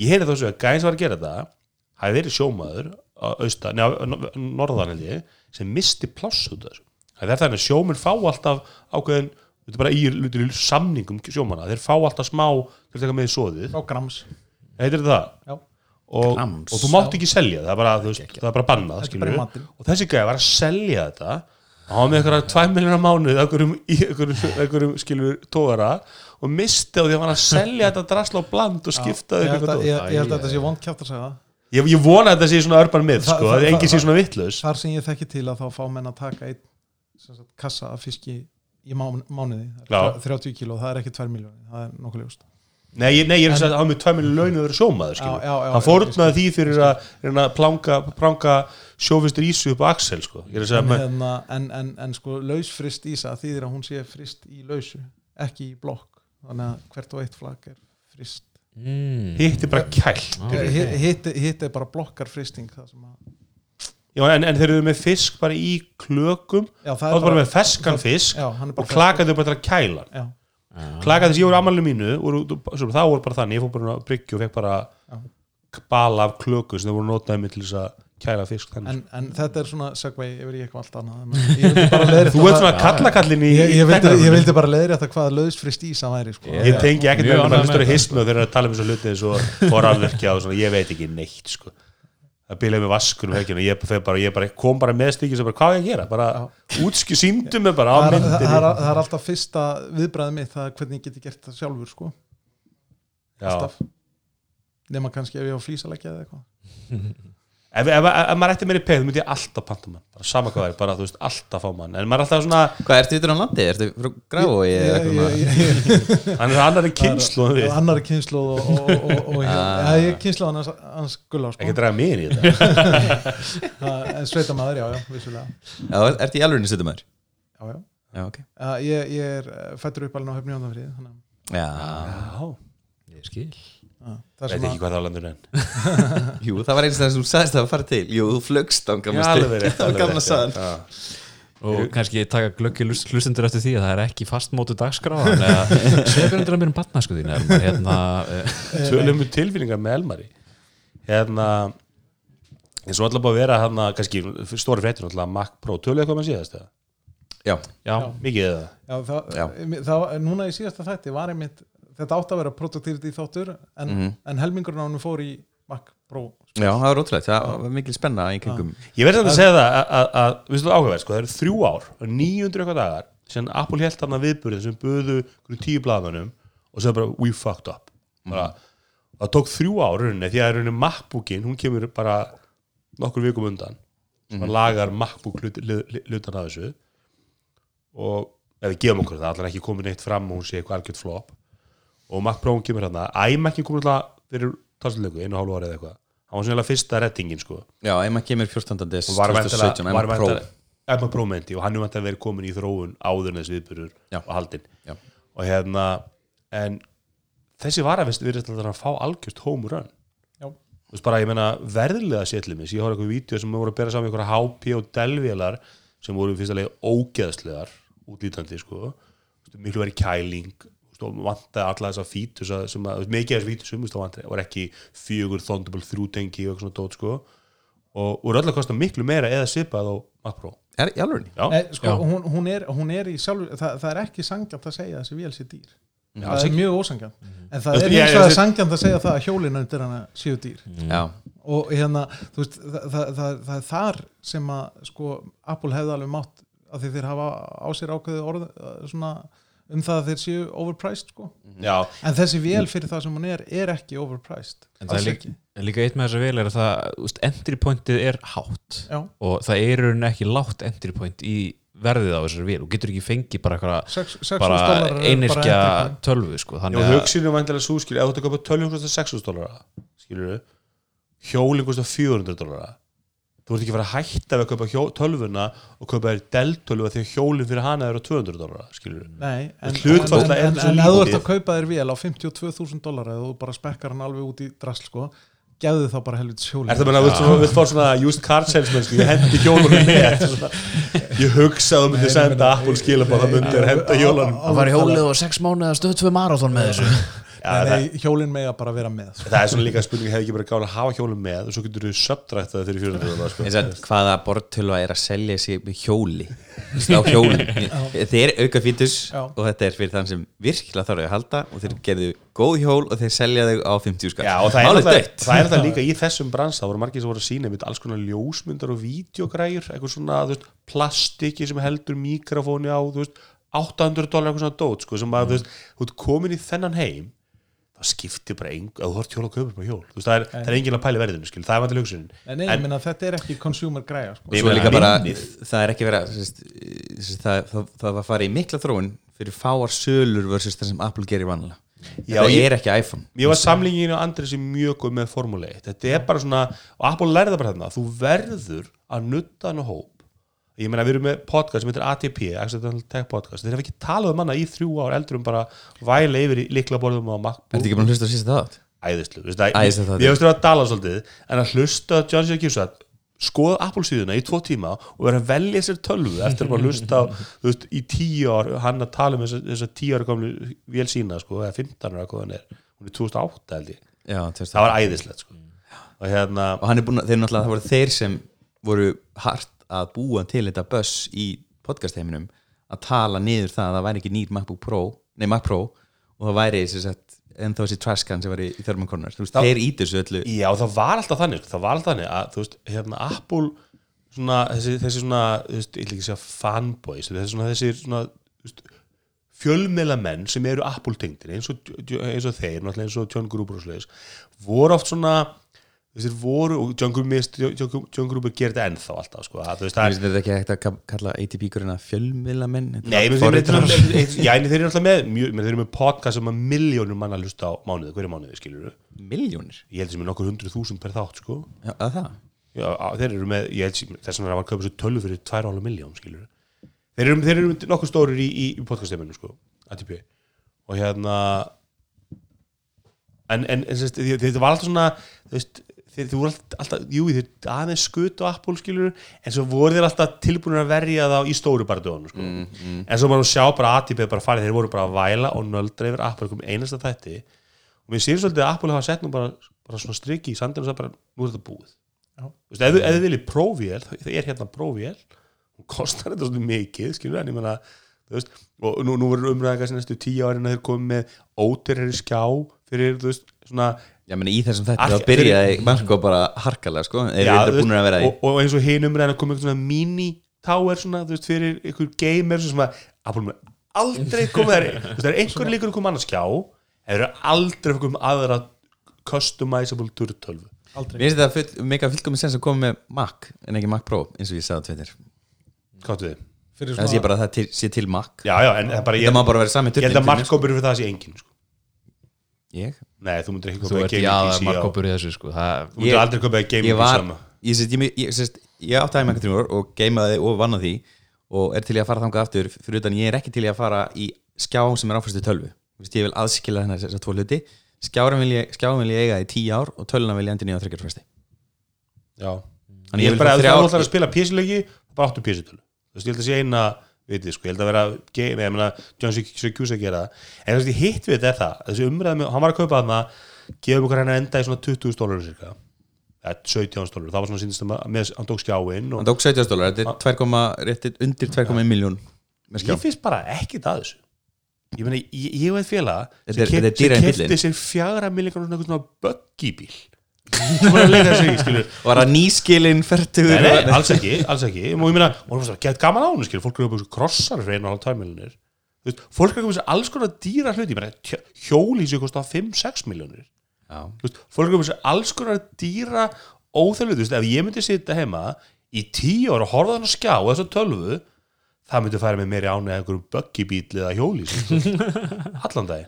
Speaker 2: ég heyrði þá þessu að gæin sem var að gera þetta hafi verið sjómaður á austan, neða, norðan held ég sem misti pláss út af þessu það er þannig að sjóminn fá alltaf ákveðin þetta er bara í lutur samningum sjómanna, þeir fá alltaf smá til að taka með í soðið,
Speaker 5: á grams
Speaker 2: heitir þetta það
Speaker 5: já,
Speaker 2: og,
Speaker 4: Grams.
Speaker 2: og þú mátt ekki selja það er bara, þú veist, það er bara bannað
Speaker 5: Þetta er
Speaker 2: skilurðu.
Speaker 5: bara í matinn.
Speaker 2: og þessi gæði var að selja þetta og hann var með eitthvað 2 miljonar mánuð einhverjum, í einhverjum, einhverjum skilur tóra og misti á því að hann var að selja þetta drasla á bland og skipta
Speaker 5: ég
Speaker 2: já,
Speaker 5: held að-
Speaker 2: ég,
Speaker 5: ég ég held að þetta sé vond kjátt að segja það
Speaker 2: ég, ég vona að þetta sé svona örban mið
Speaker 5: Það-
Speaker 2: sko,
Speaker 5: það-
Speaker 2: að enginn
Speaker 5: það-
Speaker 2: sé svona vittlaus
Speaker 5: þar sem ég þekki til að þá fá menn að taka einn sem sagt, kassa af fiski í mánu, mánuði, það
Speaker 2: Já.
Speaker 5: er 30 kíló það er ekki 2 miljónir, það er nokkuð ljóst
Speaker 2: nei, ég, nei, ég er að segja að hann var með 2 miljonar laun og verið sjómaður
Speaker 5: Já,
Speaker 2: skilur.
Speaker 5: já, já,
Speaker 2: hann
Speaker 5: já,
Speaker 2: fórnaði því fyrir að, reyna að planga, planga sjófistur ísu upp á Axel sko. ég er að segja
Speaker 5: en,
Speaker 2: að
Speaker 5: hérna, en, en, en sko lausfrist ísa þýðir að hún sé frist í lausu ekki í blokk, þannig að hvert og eitt flagg er frist
Speaker 3: mm.
Speaker 2: hitt er bara kælt
Speaker 5: Hi- hitt hitt er bara blokkar fristing það sem að
Speaker 2: Já, en, en þeir eru með fisk bara í klökum
Speaker 5: já,
Speaker 2: þá er bara með ferskan fisk
Speaker 5: já, hann er
Speaker 2: og
Speaker 5: bara
Speaker 2: klakandi bara til að kæla hann.
Speaker 5: já,
Speaker 2: klakandi þess ég voru ammælinu mínu voru, svo, þá voru bara þannig, ég fór bara að bryggju og fekk bara
Speaker 5: Já.
Speaker 2: bala af klöku sem þeir voru notaði mig til þess að kæla fisk þannig.
Speaker 5: en, en þetta er svona segvei yfir í eitthvað allt annað en ég vildi bara leiðrétta
Speaker 2: þú ert
Speaker 5: það-
Speaker 2: svona kallakallin í,
Speaker 5: ég, ég,
Speaker 2: í
Speaker 5: vildi, ég
Speaker 2: teknarunum.
Speaker 5: vildi bara leiðri þetta hvað lausfrist ísa væri sko.
Speaker 2: Ég tengi ekkert
Speaker 3: Mjög
Speaker 2: með
Speaker 3: ánægð
Speaker 2: það hlustur
Speaker 3: með
Speaker 2: að hist með þeir eru að tala um þessu hluti eins og forarverkja og svona, ég veit ekki neitt sko. það byrjaði með vaskunum helginu um ég, fer bara, ég bara, kom bara með stíkis og bara hvað á ég að gera, bara útskju síndum með bara á
Speaker 5: það, er, það,
Speaker 2: myndinni
Speaker 5: er, það er alltaf fyrsta viðbræðið mitt það er hvernig ég geti gert það sjálfur sko.
Speaker 2: Já.
Speaker 5: alltaf nema kannski ef ég á flísalegja eða eitthvað
Speaker 2: ef, ef, ef, ef maður ætti meiri peð, þú myndi ég alltaf panta mann bara sama hvað er, bara þú veist, alltaf fá mann en maður er alltaf svona,
Speaker 4: Hvað, ertu yfir á landi? Ertu frá Grafói? eða eitthvað svona?
Speaker 2: hann er það annari kynslu en við,
Speaker 5: annar kynsluð og, og, og, og, og
Speaker 4: Ah.
Speaker 5: ja, ég kynsluð hans, hans gulla sko.
Speaker 2: ekki draga mig inn í þetta
Speaker 5: Það- en sveitamæður, já, já, vissulega
Speaker 4: Já, er- ertu í alvörinu stundum aður?
Speaker 5: já, já.
Speaker 4: Já, ok
Speaker 5: Uh, ég, ég er fættur upp alveg á höfni ándafrið þannig að-
Speaker 4: Já,
Speaker 2: já,
Speaker 3: ég skil
Speaker 5: að það
Speaker 2: veit
Speaker 5: sem
Speaker 2: ekki
Speaker 5: að
Speaker 2: hvað það landur enn
Speaker 4: jú, það var eins og það sem þú sagðist að fara til Jú, þú flögst á gamla stund
Speaker 2: rétt,
Speaker 4: Á
Speaker 2: alveg
Speaker 4: gamla
Speaker 2: rétt,
Speaker 4: saðan
Speaker 2: já.
Speaker 3: og kannski taka glöggi hlustundur eftir því að það er ekki fastmótu dagskrá þannig að segja fyrir mér um batnasku þín er maður hérna eh,
Speaker 2: tölum um tilfinningar með Elmari hérna eins og alltaf búið að vera hérna kannski stóri fréttur alltaf Mac Pro tölum eitthvað maður síðast eða?
Speaker 4: Já,
Speaker 3: já,
Speaker 2: mikið eða
Speaker 5: já, eh, það,
Speaker 4: Já.
Speaker 5: það, núna í síðasta þætti var einmitt þetta átt að vera produktivity þáttur en,
Speaker 2: Mhm.
Speaker 5: en helmingurinn á hann fór í Mac Pro
Speaker 4: já, það var ótrúlegt Það var mikil spenna í kringum
Speaker 2: ég verði þetta að segja það að, að, að við stóðum áhugaverð sko, það eru þrjú ár, það eru 900 eitthvað dagar sem Apple held hann að viðburðin sem buðu einhverjum tíu blaðmönnum og segja bara we fucked up bara, það tók þrjú ár rauninni því að rauninni MacBookin hún kemur bara nokkur vikum undan sem mm. lagar MacBook hlut- hlut- hlutan að þessu og ef við gefum okkur það, allan ekki komin eitt fram og hún sé eitthvað algjört flop og Mac Brown kemur hérna, æmækkin komur alltaf fyrir talsleiku, einu og hálfu árið eitthvað hann var svona fyrsta rettingin sko
Speaker 4: Já, Emma kemur 14. des
Speaker 2: og var væntanlega
Speaker 4: 2017
Speaker 2: var
Speaker 4: Emma Pro
Speaker 2: væntanlega- Emma Pro meinti og hann er væntanlega verið komin í þróun áður en þessi viðbyrður
Speaker 4: Já.
Speaker 2: og haldinn
Speaker 4: Já.
Speaker 2: og hérna en þessi varafist við erum að fá algjört home run
Speaker 5: Já.
Speaker 2: þú veist bara ég meina verðlega sérlumis, ég horf eitthvað vídeo sem voru að bera saman ykkur HP og Dell-vélar sem voru fyrst að leið ógeðslegar útlítandi sko Þú veist, miklu verið kæling þú veist, og vantaði alla þessa fítus að- sem að, þú veist, mikið af þessu fítusum þú veist, það vantaði, var ekki fjögur Thunderbolt 3 tengi og eitthvað svona dót sko og voru öll að kosta miklu meira eða svipað á Mac Pro
Speaker 4: Er í alvörinu?
Speaker 2: Já.
Speaker 5: Nei, sko,
Speaker 3: Já.
Speaker 5: hún, hún, er, hún er í sjálfur það, það er ekki sangjant að segja að þessi vél sé dýr
Speaker 2: Já,
Speaker 5: það
Speaker 2: alls
Speaker 5: er
Speaker 2: ekki.
Speaker 5: mjög ósangjant en
Speaker 2: Þú
Speaker 5: það er
Speaker 2: veist, ég-
Speaker 5: hins vegar
Speaker 2: ég-
Speaker 5: sangjant að segja það að hjólin undir hana séu dýr
Speaker 2: Mm.
Speaker 4: Já,
Speaker 5: og hérna, þú veist, það, það, það, það er þar sem að sko, Apple hefði alveg mátt að þeir hafa á sér ákveðið orð eh, svona, um það að þeir séu overpriced sko.
Speaker 2: Já,
Speaker 5: en þessi vél fyrir það sem hún er er ekki overpriced
Speaker 3: en það er
Speaker 5: Alls
Speaker 3: líka, en líka eitt með þessa vel er að það þú veist, entry pointið er hátt
Speaker 5: Já.
Speaker 3: og það er í rauninni ekki látt entry point í verðið á þessari vel og getur ekki fengið bara eitthvað
Speaker 5: Sex- 600
Speaker 3: bara
Speaker 5: dollarar eru
Speaker 3: einirkja
Speaker 5: bara entry point.
Speaker 3: tölvu sko,
Speaker 2: Já,
Speaker 3: þannig
Speaker 2: og
Speaker 3: að
Speaker 2: hugsin er vandilega svo skil eða þú tekur upp 12.600 dólara skilur þau, hjólinn kostar 400 dólara þú ert ekki að fara að hætta við að kaupa hjó, tölvuna og kaupa þér deltölva þegar hjólinn fyrir hana eru á 200 dólara skilur þau
Speaker 5: Nei, en, en,
Speaker 2: Hlutfallslega
Speaker 5: en,
Speaker 2: er
Speaker 5: en,
Speaker 2: þetta svo
Speaker 5: en ef þú ert
Speaker 2: lítið.
Speaker 5: að kaupa þér vél á 52.000 dólar eða þú bara spekkar hann alveg út í drasl sko, gefðu þá bara helvits hjólin
Speaker 2: Er það meina að þú vilt fá svona used car salesman skilur, ég hendi hjólunum með svona. ég hugsa að þú myndir senda Apple skilabá það myndir henda hjólunum
Speaker 3: Það var í hólið og sex mánuða stöð tvö marathon með þessu
Speaker 2: Já,
Speaker 5: nei, hjólin mega bara vera með sko.
Speaker 2: það er svona líka spurning hefði ekki bara gála að hafa hjólum með og svo getur þú subtrætt það fyrir 400 dólar sko.
Speaker 4: Eins og að hvaða bortölva er að selja sig með hjóli Þú veist, á hjóli Þeir eru auka fítus
Speaker 5: Já.
Speaker 4: og þetta er fyrir þann sem virkilega þarf að halda og þeir gerðu góð hjól og þeir selja þau á 50 skall
Speaker 2: Já, og það er
Speaker 4: Málið
Speaker 2: náttúrulega-
Speaker 4: dautt.
Speaker 2: það er það líka í þessum bransa það voru margir sem voru að sína mitt alls konar ljósmyndar og vídeogræjur, eitthvað svona þú veist, plastiki sem heldur mikrofóni á þú veist, 800 dólar eitthvað svona dót sko, sem að þú veist,
Speaker 5: Mm.
Speaker 2: þú veist, komin í þennan heim þá skiptir bara eng að þú hort hjól og kaupir bara hjól, þú veist, það er, það er enginn að pæli verðinu skil, það er vantilega hugsunin
Speaker 5: en, nei, en, minna, þetta er ekki consumer græja sko.
Speaker 4: Og
Speaker 2: Ég
Speaker 4: svo
Speaker 2: meina,
Speaker 4: líka bara,
Speaker 2: minnið.
Speaker 4: það er ekki verið að, sérst, sérst, það, það, það var farið í mikla þróun fyrir fáar sölur versus það sem Apple gerir vanlega
Speaker 2: Já,
Speaker 4: Þetta
Speaker 2: ég-
Speaker 4: er ekki iPhone
Speaker 2: Mér var samlingin á Andresi mjög góð með Formule 1 Þetta er bara svona, og Apple lærði það bara þarna Þú verður að nutta hann hóp Ég meina, við erum með podcast sem heitir ATP Accidental Tech Podcast, þeir hafa ekki talað um hana í þrjú ár eldur um bara væla yfir í liklaborðum á
Speaker 4: Ertu
Speaker 2: MacBook,
Speaker 4: ekki búin að hlusta á sísta þátt?
Speaker 2: æðislu Þú veist það-
Speaker 4: Æðislegur þáttur.
Speaker 2: Ég veist það að dala svolítið, en að hlusta á John C. Gifsat skoða Apple síðuna í tvo tíma og vera að velja sér tölvu eftir að bara hlusta á, þú veist, í tíu ár hann að tala um þess að tíu ára komlu vél sína, sko, eða 15 ára hvað hann er hún er 2008 held ég
Speaker 4: Já, þú veist
Speaker 2: það var æðislegt sko. og hérna,
Speaker 4: og hann er búin að, þeir náttúrulega, það voru þeir sem voru hart að búa til þetta buss í podcastheiminum að tala niður það að það væri ekki nýr MacBook Pro, nei Mac Pro og það væri sem sagt, ennþá þessi trashcan sem var í, í Thurman Corner, þú veist, þeir ítu þessu öllu
Speaker 2: já það var alltaf þannig sko, það var alltaf þannig að þú veist, hérna Apple svona, þessi, þessi svona þú veist, ég vil ekki segja fanboys þessi svona, þessi svona þú veist, fjölmela menn sem eru Apple tengdir eins og, eins og þeir, náttúrulega eins og John Gruber og sliðis, voru oft svona þessir voru, og John Gruber, mist- John John Gruber gerir þetta ennþá alltaf sko, að, þú veist, það
Speaker 4: Þú veist, þetta er ekki hægt að ka- kalla ATP-kurina fjölmiðlamenn þetta er
Speaker 2: Nei, menn þeir,
Speaker 4: forritarar.
Speaker 2: þeir, þeir, þeir, já, en þeir eru alltaf með mjög, menn þeir eru með podcast sem að miljónum manna hlusta á mánuði, hverju mánuði skilur
Speaker 4: Milljónir,
Speaker 2: ég held sem er nokkur hundruð þúsund per þátt sko.
Speaker 4: já, að það
Speaker 2: já, á- þeir eru með, ég held sem þess vegna var að kaupa svo tölvu fyrir 2,5 miljón skilur þeir eru, þeir eru nokkur stórir í, í, í podcasteiminum sko, ATP og hérna en, en, en sest, því, þetta var alltaf svona þú veist, þeir, þeir voru alltaf, alltaf jú, þeir aðeins skut og Apple skilur en svo voru þeir alltaf tilbúin að verja þá í stóru barðunum sko. en svo maður sjá bara ATP bara farið, þeir voru bara að væla og nöldra yfir Apple kom einasta þætti og mér sér svolítið að Apple hafa sett nú bara, bara svona strikki í sandinu og sagði bara, nú er þetta búið
Speaker 5: Já.
Speaker 2: Þú veist, ef, þú- ef þið viljið prófél, það er hérna prófél hún kostar þetta svona mikið skilur, en ég meina þú veist, og nú, nú verður umræðingar sem næstu tíu árin að þeir komið með óterri skjá fyrir, þú veist, svona
Speaker 4: Já, meni, í þessum þetta,
Speaker 2: Allt-
Speaker 4: þá byrjaði Marko bara harkalega, sko, þeir eru
Speaker 2: Já,
Speaker 4: þetta
Speaker 2: þú
Speaker 4: búin að vera í
Speaker 2: og, og eins og hinum er að koma eitthvað svona mini tower svona, þú veist, fyrir einhver gamer sem að Apple mun aldrei koma þær, þú veist, það er einhver líkur að koma annars skjá, það eru aldrei að koma aðra customizable turtölvu.
Speaker 5: aldrei
Speaker 4: Mér finnst þetta full, mega fullkomis sens að koma með Mac en ekki Mac Pro, eins og ég sagði á Twitter
Speaker 2: Hvað við?
Speaker 5: fyrir
Speaker 4: Það sé
Speaker 5: svona,
Speaker 4: bara að það til, sé til Mac
Speaker 2: Já, já, en það er bara,
Speaker 4: Þetta
Speaker 2: ég,
Speaker 4: má bara vera sami
Speaker 2: ég
Speaker 4: turnin
Speaker 2: held að markkópur fyrir það sé engin, sko.
Speaker 4: Ég?
Speaker 2: Nei, þú myndir ekki
Speaker 3: þú
Speaker 2: koma að
Speaker 3: ert í
Speaker 2: gaming PC
Speaker 3: aða
Speaker 2: á,
Speaker 3: markkópur í þessu sko. það,
Speaker 2: þú myndir
Speaker 4: Ég-
Speaker 2: aldrei koma að gaming
Speaker 4: Ég var,
Speaker 2: PC á.
Speaker 4: ég, sést, ég, ég, sést, ég átti aðeins með kontrúar og geimaði og vann að því og er til í að fara þangað aftur fyrir utan ég er ekki til í að fara í skjá sem er áfæstu tölvu Þú veist, Ég vil aðskila hennar þessar tvo hluti Skjárin vil ég, skjáin vil ég eiga í tíu ár og töluna vil ég endur nýja á þryggjarfæsti
Speaker 2: Já.
Speaker 4: Þannig
Speaker 2: Ég
Speaker 4: ég vil
Speaker 2: er bara,
Speaker 4: fá
Speaker 2: ef þú
Speaker 4: þrjár-
Speaker 2: ætlar að spila PC-leiki, bara áttu PC-tölu. Þú veist, ég held að sé eina, við þið, sko, ég held að vera game, ég meina, John Secuse að gera það. En þú veist, ég hitt við þetta er það, þessi umræðum, hann var að kaupa þarna, gefum okkur hennar enda í svona 20 stólarur cirka, eða 17 stólarur, það var svona síndist að með, hann tók skjáinn
Speaker 4: Hann
Speaker 2: og
Speaker 4: tók 70 dólar, þetta er 2, réttir undir 2,1 miljón með skjá
Speaker 2: Ah. ég finnst bara ekkit að þessu. Ég meina, ég, ég veit félaga
Speaker 4: Þetta er- þetta er dýrari
Speaker 2: sem
Speaker 4: en
Speaker 2: kefti sér fjagra millingar svona eitthvað svona buggy-bíl. Svo bara að leika sig, skilur,
Speaker 4: Var það nýskilinn fertugur
Speaker 2: Nei, nei, alls ekki, alls ekki og ég meina, og það var gett gaman á hún skilur, fólk eru upp þessu krossar fyrir einu og hálf tæmilinir þú veist, fólk eru upp þessu alls konar dýra hluti ég meina, tjö- hjóli séu kosta 5-6 miljónir
Speaker 4: Já.
Speaker 2: þú veist, fólk eru upp þessu alls konar dýra óþælu, þú veist, ef ég myndi sitja heima í tíu ára og horfa þannig að skjá og þessu tölvu, það myndi færa mig meiri ánið einhverjum buggy bíl eða hjóli allan daginn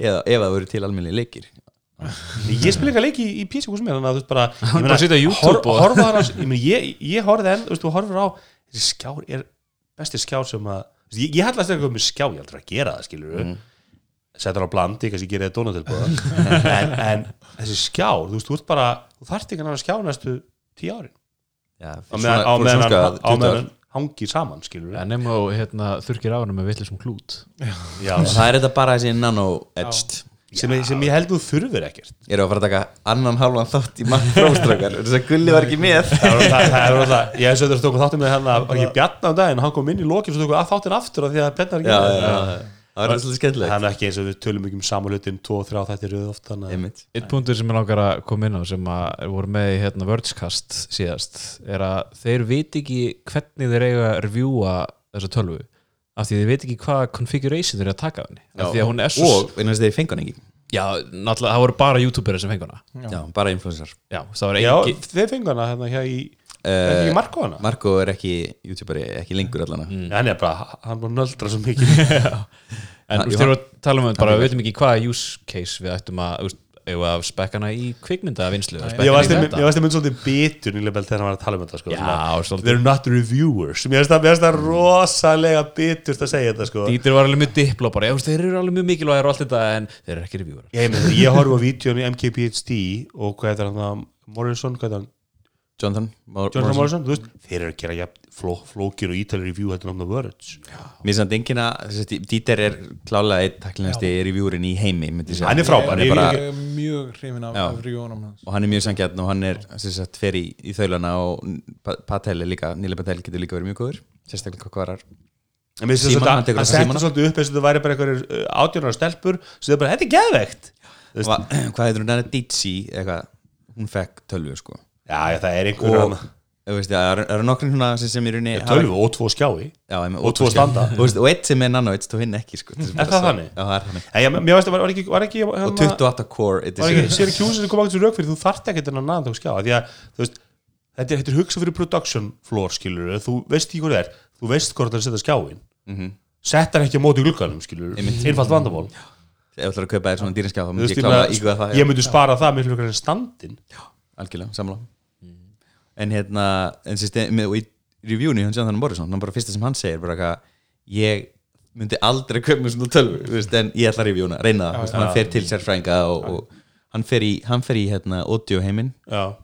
Speaker 4: eða ef það voru til almenni leikir
Speaker 2: ég spil eitthvað leiki í PC húsum mér þannig að þú veist bara, ég
Speaker 3: bara sitja á YouTube
Speaker 2: hor,
Speaker 3: og-
Speaker 2: horfa þar á, ég, meina, ég, ég horfði enn, þú veist, þú horfir á þessi skjár er besti skjár sem að þú veist, ég, ég hallast eitthvað með skjá, ég aldrei að gera það skilur mm. setur á blandi, kannski gerir það dónatilbúða en, en þessi skjár, þú veist, þú ert bara þú þarft ekki að skjá næstu tíu árin
Speaker 4: Já,
Speaker 2: á meðan, á
Speaker 4: fyrir
Speaker 2: meðan, hann- á
Speaker 4: svona sko 20 ár.
Speaker 2: meðan hann hangir saman, skilur
Speaker 3: ja, nema og hérna, þurkir á hana með vitlisum klút
Speaker 2: já,
Speaker 4: Það er þetta bara þessi nano-edged
Speaker 2: sem, sem ég held þú þurfir ekkert
Speaker 4: Ég er að fara að taka annan halvan þátt í mann fróstrákar Þess að gulli var ekki með
Speaker 2: Það var alltaf, það var alltaf, ég hef sögður stóku þáttum með hann að ekki bjarna um daginn, hann kom inn í lokin svo tóku að þáttin aftur af því að pennar
Speaker 4: Já,
Speaker 2: ekki
Speaker 4: já, já Það var svolítið skemmtilegt
Speaker 2: Hann er ekki eins og við tölum ekki um samulutin 2-3 þættir röð oft hann
Speaker 4: Einmitt.
Speaker 3: Eitt punktur sem ég langar að koma inn á sem að voru með í hérna Vergecast síðast er að þeir veit ekki hvernig þeir eiga að revjúa þessa tölvu af því þeir veit ekki hvaða configuration þeir eru að taka af henni af því að hún er svo
Speaker 4: Og einhvers þegar fengu hann ekki
Speaker 3: Já, náttúrulega, það voru bara youtuberar sem fengur hana
Speaker 5: Já.
Speaker 4: Já, bara influensar
Speaker 3: Já, það voru
Speaker 2: Já,
Speaker 3: engi
Speaker 2: þeir fengu hana hérna hér í
Speaker 4: Eh,
Speaker 2: uh, ekki Marko hana
Speaker 4: Marko er ekki youtuberi, ekki lengur allan mm.
Speaker 2: Hann er bara, hann bara nöldra svo mikið
Speaker 3: En þú veist, þeir eru að tala um þetta bara, við veitum ekki hvaða use case við ættum að, þú veist, eigum að spekkana í kvikmyndavinnslu eða
Speaker 2: Ég
Speaker 3: spekka
Speaker 2: varst
Speaker 3: hana í
Speaker 2: einmitt-
Speaker 3: þetta.
Speaker 2: ég varst einmitt svolítið bitur nýlega þegar hann var að tala um þetta sko,
Speaker 3: Já,
Speaker 2: svona,
Speaker 3: svolítið.
Speaker 2: They're not reviewers Mér finnst það- mér finnst það rosalega biturt að segja þetta sko.
Speaker 3: Dítir var alveg mjög diplo bara, já, þú veist, þeir eru alveg mjög mikilvægir og allt þetta en þeir eru ekki reviewar
Speaker 2: Ég, meina, ég horf á vídjónu MKPHD og hvað heitir hann það, Morrison, hvað heitir hann
Speaker 4: Jonathan, Mor
Speaker 2: Jonathan Morrison, þú veist, þeir eru að gera jafn, fló, flókir og ítalir review heldur um The Verge
Speaker 4: Mér er samt enginn að þessi Dí- Dieter er klálega einn takkilegasti reviewurinn í heimi myndi ég segja.
Speaker 2: Hann er frábær,
Speaker 4: er
Speaker 2: ég-
Speaker 4: bara,
Speaker 2: ég-
Speaker 5: Ég er mjög hrifin af,
Speaker 4: Já.
Speaker 5: af rjónum hans
Speaker 4: og hann er mjög sangjarn og hann er sem sagt, fer í, í þaulana og Pa- Patel er líka, Nýli Patel getur líka verið mjög góður sérstaklega hvað hvarar
Speaker 2: En mér finnst
Speaker 4: Símon,
Speaker 2: þetta
Speaker 4: hann
Speaker 2: að
Speaker 4: tekur þetta
Speaker 2: setja
Speaker 4: Símon.
Speaker 2: svolítið upp eins og það væri bara einhverjir átjónar stelpur sem þau bara, þetta er geðvegt Þú veist,
Speaker 4: Hva, hvað heitir hún hann er Ditsi eitthvað, hún fekk tölvu sko
Speaker 2: Já, já, það er einhver
Speaker 4: og
Speaker 2: og,
Speaker 4: þú veist, það eru- eru nokkrin svona sem, sem í rauninni hafa-
Speaker 2: tölvu og tvo skjái
Speaker 4: já, einmitt,
Speaker 2: og tvo standa.
Speaker 4: Þú veist, og eitt sem er nann og eitt stóð hinn ekki sko,
Speaker 2: Er það þannig?
Speaker 4: Já, það er þannig
Speaker 2: En ég, mér finnst það var ekki, var ekki hérna,
Speaker 4: og 28 core
Speaker 2: var ekki,
Speaker 4: edition
Speaker 2: sér ekki húsin sem kom ákveðs rauk fyrir þú þarft ekki að naða þá skjá því að, þú veist, þetta er, þetta er hugsa fyrir production floor skilur þú veist ekki hvað það er, þú veist hvort það er að setja skjáin mm
Speaker 4: Mhm.
Speaker 2: sett hann ekki á móti glugganum skilur einfalt vandamál
Speaker 4: ef þú ætlar að kaupa þér svona dýrinskjá þá
Speaker 2: Þú
Speaker 4: myndi
Speaker 2: veist,
Speaker 4: ég
Speaker 2: ég,
Speaker 4: klála
Speaker 2: meina,
Speaker 4: að íkvæða það já.
Speaker 2: ég myndi spara það miklu frekar en standin
Speaker 4: algjörlega, samlá en hérna, en sérst með, og í reviewinu, hann séðan þannig Borisson hann bara fyrsta sem hann segir, bara eitthvað ég myndi aldrei köpa mér svona tölvu þú veist, en ég ætla að reviewna, reyna það, þú veist, hann fer til sérfrænga og, og hann fer í hann fer í hérna, audio heiminn
Speaker 2: já,
Speaker 4: uh,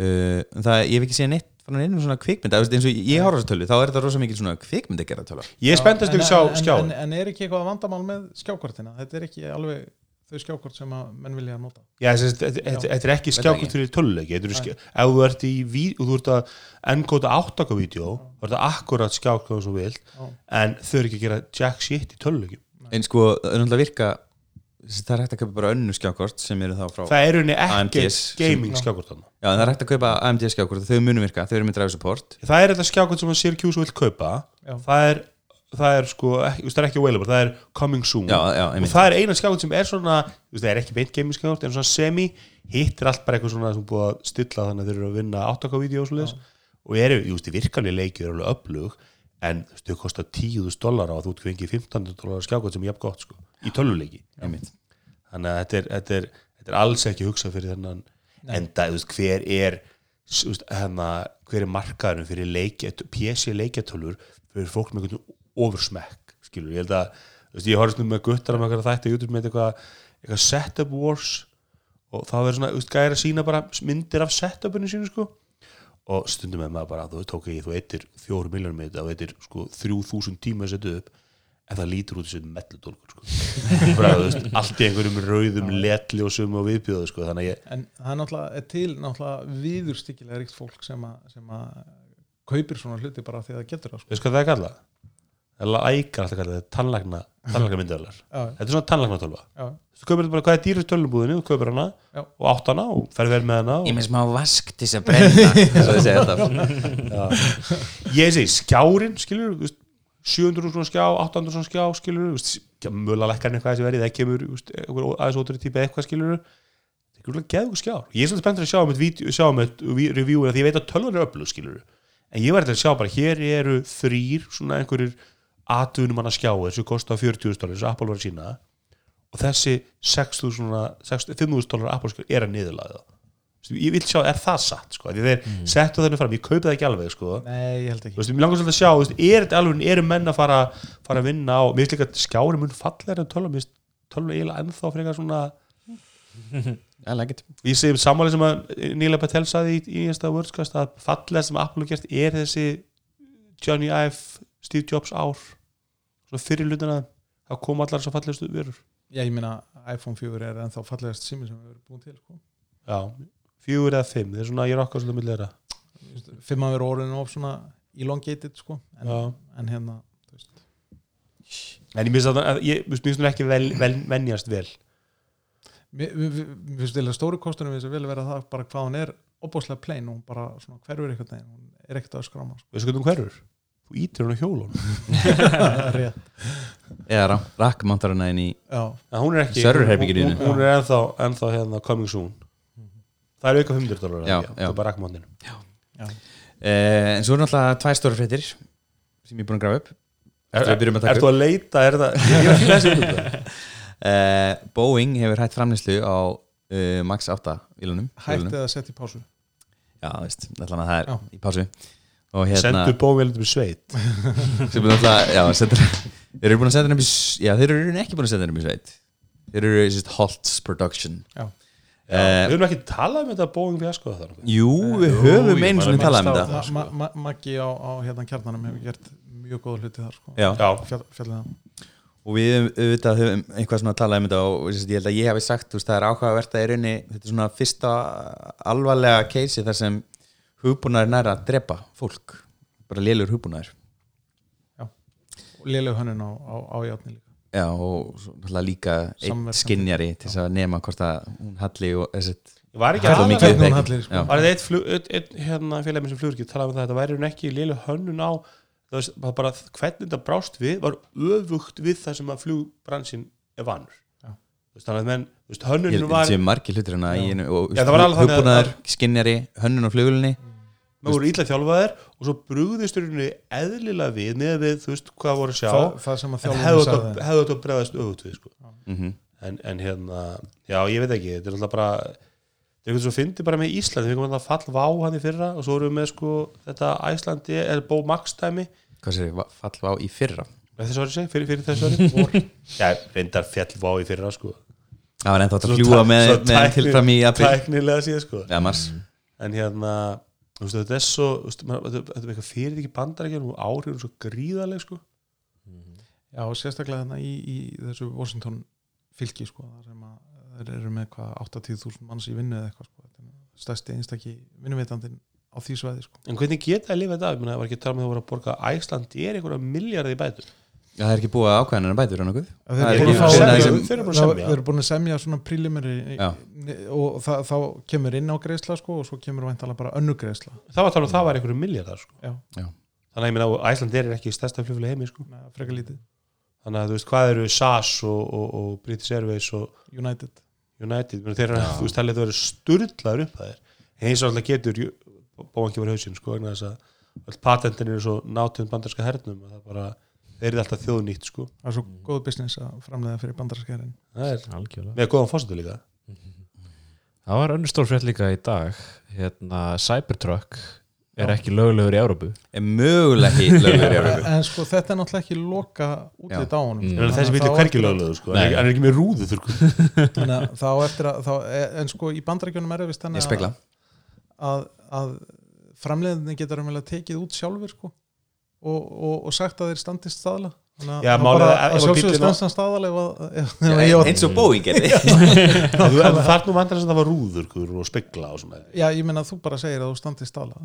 Speaker 4: en það, ég hef ekki séð neitt frá neinum svona kvikmynda, þú veist, eins og ég- ég horf á þessa tölvu, þá er þetta rosa mikil svona kvikmynda gera tölva
Speaker 2: ég spenntast
Speaker 5: En-
Speaker 2: ekki sjá
Speaker 5: en- en-
Speaker 2: skjáin
Speaker 5: en, en er ekki eitthvað vandamál með skjákortina þetta er ekki alveg þau skjákort sem að menn vilja nota
Speaker 2: Já, þessi, þetta, þetta, þetta er ekki
Speaker 4: Veit það
Speaker 2: skjákvöld fyrir töluleiki þetta eru skjá- ef þú ert í ví- og þú ert að ennkóta áttaka vídeo þá er þetta akkurat skjákvöld sem þú vilt
Speaker 5: Já.
Speaker 2: en þau eru ekki að gera jack shit í töluleiki
Speaker 4: en sko, það er náttúrulega virka þessi, það er hægt að kaupa bara önnu skjákort sem eru þá frá
Speaker 2: það er henni ekki
Speaker 4: AMDs sem-
Speaker 2: gaming skjákvöld þannig
Speaker 4: já, en það er hægt að kaupa AMD skjákort, þau munum virka, þau eru með drive support
Speaker 2: það er þetta skjákvöld sem að Syracuse vil kaupa
Speaker 5: Já.
Speaker 2: það er, það er sko ekki, þú veist, það er ekki available, það er coming soon
Speaker 4: já, já,
Speaker 2: og
Speaker 4: einmitt.
Speaker 2: það er eina skjákvöld sem er svona þú veist, það er ekki beint gaming skjákvöld, en svona semi hitt er allt bara eitthvað svona sem búið að stilla þannig að þeir eru að vinna áttakavídeó og svoleiðis og eru, ég veist, virkanlega leikir eru alveg öflug en þú veist, þau kosta 10.000 dólar á að þú fengið 15.000 dólar skjákvöld sem er jafn gott sko, í tölvuleiki
Speaker 4: Einmitt.
Speaker 2: þannig að þetta er, þetta er, þetta er alls ekki hugsað fyrir þennan enda, þú veist, hver er s- þú veist, hana, hver er markaðurinn fyrir leikja, PC leikjatölur fyrir fólk með einhvern oversmekk skilur, ég held að, þú veist, ég horfði stundum með guttar um eitthvað þætti á YouTube með eitthvað, eitthvað setup wars og þá verður svona, þú veist, gæri að sína bara myndir af setupinu sínu, sko og stundum með maður bara, þú veist, tók ekki þú eittir fjóru miljónum með þetta og eittir sko 3000 tíma að setja upp en það lítur út sem mellutólkur sko. bara, þú veist, allt í einhverjum rauðum letljósum og viðbjóðu sko. þannig að ég,
Speaker 5: en það er náttúrulega er til náttúrulega viðurstyggilega ríkt fólk sem að, sem að kaupir svona hluti bara því að það getur það sko.
Speaker 2: veist hvað það er kallað? það er lækar alltaf kallað, það er tannlækna tannlækna myndavelar,
Speaker 5: já,
Speaker 2: þetta er svona tannlækna tölva
Speaker 5: já,
Speaker 2: þú kaupir þetta bara, hvað er dýrur tölvubúðinu þú kaupir hana
Speaker 5: Já.
Speaker 2: og átt hana og fer vel með hana og...
Speaker 4: Ég með smá vask til þess að brenna Svo ég segi alltaf
Speaker 2: ég segi skjárin skilur þú veist, 700 svona skjá, 800 svona skjá skilur þú veist, mjögulega lækkarinn eitthvað þessi verið það kemur þú veist, einhver aðeins ótrúið típa eitthvað skilur það er grúlega geðugur skjár ég er svolítið spenntur að sjá um eitt vídeo- sjá um eitt vi- review af því ég veit að tölvan er öflug skilur en ég var eitthvað að sjá bara hér eru þrýr svona einhverjir atvinnum hann að skjá þessu kosta 40.000 dólar þessu Apple var að sína og þessi 6.000 svona- 6.000 5.000 dólar Apple skjár er að niðurlaða ég vil sjá, er það satt sko? af því þeir settu þenni fram, ég kaupi það ekki alveg sko
Speaker 5: nei, ég held
Speaker 2: þú
Speaker 5: ekki
Speaker 2: veist, mér langar svolítið að sjá, þú veist, er þetta alveg eru menn að fara, fara að vinna á mér finnst líka að skjári mun fallegri en tölva mér finnst tölva eiginlega ennþá fyrir eitthvað svona
Speaker 4: I like it
Speaker 2: ég segi um sammáli sem að Nýla Patel saði í, í einsta vörskast að fallegri sem Apple hefur gert er þessi Johnny Ive, Steve Jobs ár svona fyrir hlutina það kom allar svo fallegustu verur
Speaker 5: já, ég meina iPhone 4 er ennþá fallegast sími sem við erum búin til sko.
Speaker 2: já, fjögur eða fimm það er svona, ég er okkar svolítið millir þeirra
Speaker 5: Þú veist, fimm að vera orðin of svona elongated sko. en,
Speaker 2: Já.
Speaker 5: en hérna þú veist,
Speaker 2: en ég minnst að að ég mér finnst hún ekki vel, vel, venjast vel
Speaker 5: mér mér- mér- mér finnst eiginlega stóru kostunum við þess að vilja vera það bara hvað hún er opbóðslega plain og hún bara svona hverfur eitthvað neginn, hún er ekkert að skráma sko.
Speaker 2: veistu hvernig hún hverfur? þú ítir hún á hjólun
Speaker 5: rétt,
Speaker 4: eða rakkmantaruna inn í
Speaker 5: já,
Speaker 2: en hún er ekki
Speaker 4: Serverherberginu
Speaker 2: hún,
Speaker 4: þínu.
Speaker 2: hún er ennþá, ennþá hérna coming soon það er auka 100 dólar
Speaker 4: Já, já.
Speaker 2: það er bara akkmóndin
Speaker 5: já,
Speaker 4: eh, en svo er náttúrulega tvær stóra fréttir sem ég er búin að grafa upp
Speaker 2: er,
Speaker 4: Við byrjum að taka
Speaker 2: ert þú að leita, er það ég er að fíla þessi hugmynd.
Speaker 4: eh, Boeing hefur hætt framlýslu á eh, Max 8 ílunum
Speaker 5: hætti að setja í pásu
Speaker 4: já, veist, allan að það er
Speaker 5: Já.
Speaker 4: í pásu og hérna
Speaker 2: sendu bóvel til sveit
Speaker 4: sem er náttúrulega, já, sendur, þeir eru búin að senda henni upp í s- já, þeir eru í rauninni ekki búin að senda henni upp í sveit þeir eru sérst Holtz Production
Speaker 5: Já.
Speaker 2: við
Speaker 4: Eh,
Speaker 2: höfum ekki talað um þetta bóing við að skoða það nokkuð.
Speaker 4: jú, við
Speaker 2: Jú,
Speaker 4: höfum
Speaker 2: ég
Speaker 4: einu
Speaker 2: bara
Speaker 4: svona talað um
Speaker 2: minnst á
Speaker 4: þetta
Speaker 5: Ma- ma- ma- Maggi á, á hérna kjarnanum hefur gert mjög góða hluti þar sko.
Speaker 4: já,
Speaker 2: já,
Speaker 5: Fjall, fjallið það
Speaker 4: og við höfum- auðvitað höfum eitthvað svona talað um þetta og þú veist, ég held að ég hafi sagt þú veist, það er áhugavert að í rauninni þetta er svona fyrsta alvarlega keisi þar sem hugbúnaður næra að drepa fólk bara lélur hugbúnaður
Speaker 5: og léleg hönnun á, á, á játni líka
Speaker 4: já, og svo náttúrulega líka eitt
Speaker 5: Samverkandi.
Speaker 4: skinjari til þess að nema hvort að hún halli og þessi
Speaker 2: var ekki
Speaker 4: Kallar
Speaker 2: aðalega-
Speaker 4: mikið
Speaker 5: Hvernig hún
Speaker 4: bacon.
Speaker 5: hallir, sko.
Speaker 4: Já.
Speaker 2: var þetta eitt, flug, eitt, eitt hérna, félagi minn sem flugur ekki talaði um það, þetta væri hún ekki lélu hönnun á það veist, bara, bara hvernig þetta brást við var öfugt við það sem að flugbransin er vannur
Speaker 5: Já.
Speaker 2: þannig að menn, þú veist, hönnunin
Speaker 4: það
Speaker 2: var
Speaker 4: sé margir hlutir hana í einu og
Speaker 2: Já, það var alveg þannig að-
Speaker 4: hugbúnaður, skinjari, hönnun á flugulunni
Speaker 2: maður voru ítla þjálfaðir og svo brugðisturinnu eðlilega við með við, þú veist, hvað voru að sjá
Speaker 5: það, það sem að
Speaker 2: en
Speaker 5: þjálfum
Speaker 2: hefðu
Speaker 5: sagði
Speaker 2: þetta- hefðu þetta bregðast öfugt við sko.
Speaker 4: mm
Speaker 2: en, en hérna, já, ég veit ekki þetta er alltaf bara þetta er eitthvað svo fyndi bara með Ísland, við komum alltaf fall vá hann í fyrra og svo erum við með sko þetta Æslandi, er bó makstæmi
Speaker 4: hvað sér, va- fall á í fyrra
Speaker 2: Nei, þessu ári segi, fyrir, fyrir þessu ári vor. Já, reyndar fjallvá í fyrra sko
Speaker 4: það var ennþá hægt
Speaker 2: Svo
Speaker 4: að fljúa
Speaker 2: tæk-
Speaker 4: með,
Speaker 2: svo
Speaker 4: með
Speaker 2: tækni-
Speaker 4: tilfram í april
Speaker 2: Tæknilega síðan sko
Speaker 4: eða mars
Speaker 2: En hérna, þú veist, þetta er svo þú veist, maður- Þetta þetta er eitthvað fyrir ekki bandarækjum og áhrifun svo gríðaleg sko
Speaker 5: Já, og sérstaklega þarna í, í þessu Washington fylki sko, þar sem að þeir eru með hvað 80.000 manns í vinnu eða eitthvað sko, Þetta er stærsti einstaki vinnuvitandinn á því svæði sko.
Speaker 2: En hvernig geta að lifa þetta af? Ég meina, það var ekki að tala með það voru að borga Æsland er einhverja miljardi í bætur
Speaker 4: Já, það er ekki búið að ákveðan en að bætur hann okkur
Speaker 5: Þeir
Speaker 4: Það er ekki
Speaker 5: eru búin
Speaker 4: fyrir
Speaker 5: að fá-
Speaker 4: það
Speaker 5: þeir-
Speaker 4: sem-
Speaker 2: þeir eru búin að
Speaker 5: þá-
Speaker 2: semja.
Speaker 5: þeir eru búin að semja svona prílimeri
Speaker 4: Já.
Speaker 5: og það, þá kemur inn á greiðsla sko, og svo kemur væntalega bara önnu greiðsla
Speaker 2: Það var að tala um að það var einhverju miljardar sko
Speaker 5: Já.
Speaker 4: Já.
Speaker 2: Þannig að ég meina, Æsland er ekki stærsta flugfélag í heimi sko
Speaker 5: Nei, frekar lítið,
Speaker 2: Þannig að þú veist, hvað eru SAS og, og, og British Airways og
Speaker 5: United
Speaker 2: United, menn þeir eru þú veist talið að það verið sturðlaður upp að þeir eins og alltaf getur bóangi var hausinn sko, vegna þess að all patentin eru svo náttönd bandarska hernum að það bara, þeir eru alltaf þjóðnýtt sko
Speaker 5: það er svo góð business að framlega fyrir bandarskærin
Speaker 2: það er,
Speaker 3: Algjörlega.
Speaker 2: með góðan fórsetu líka
Speaker 3: Það var önnur stór frétt líka í dag hérna Cybertruck er ekki lögulegur í Európu
Speaker 4: er mögulega ekki lögur í Evrópu
Speaker 5: en sko þetta er náttúrulega ekki loka útlið á honum sko.
Speaker 3: Mm.
Speaker 2: en þessi vill er hvergi löglegur sko, hann er,
Speaker 3: Nei.
Speaker 2: hann er ekki með sko. rúðu þurrku
Speaker 5: þannig að þá eftir að þá, en sko í bandarækjunum er það vist
Speaker 4: ég
Speaker 5: þannig
Speaker 4: spekla
Speaker 5: að, að, að framleiðinni getur um tekið út sjálfur sko og, og, og sagt að þeir standist staðla þannig
Speaker 2: Já,
Speaker 5: að-
Speaker 2: málið
Speaker 5: að bara
Speaker 2: er að-
Speaker 5: að
Speaker 2: ef að
Speaker 5: sjálfsögur
Speaker 2: bíllinn á-
Speaker 5: standist hann staðla ef að- ef-
Speaker 4: Já,
Speaker 5: ef ég var-
Speaker 4: eins og Boeing gerði
Speaker 2: þar nú vandar þess að það var rúður sko, og spegla og svona
Speaker 5: já ég meina þú bara segir að þú standist staðla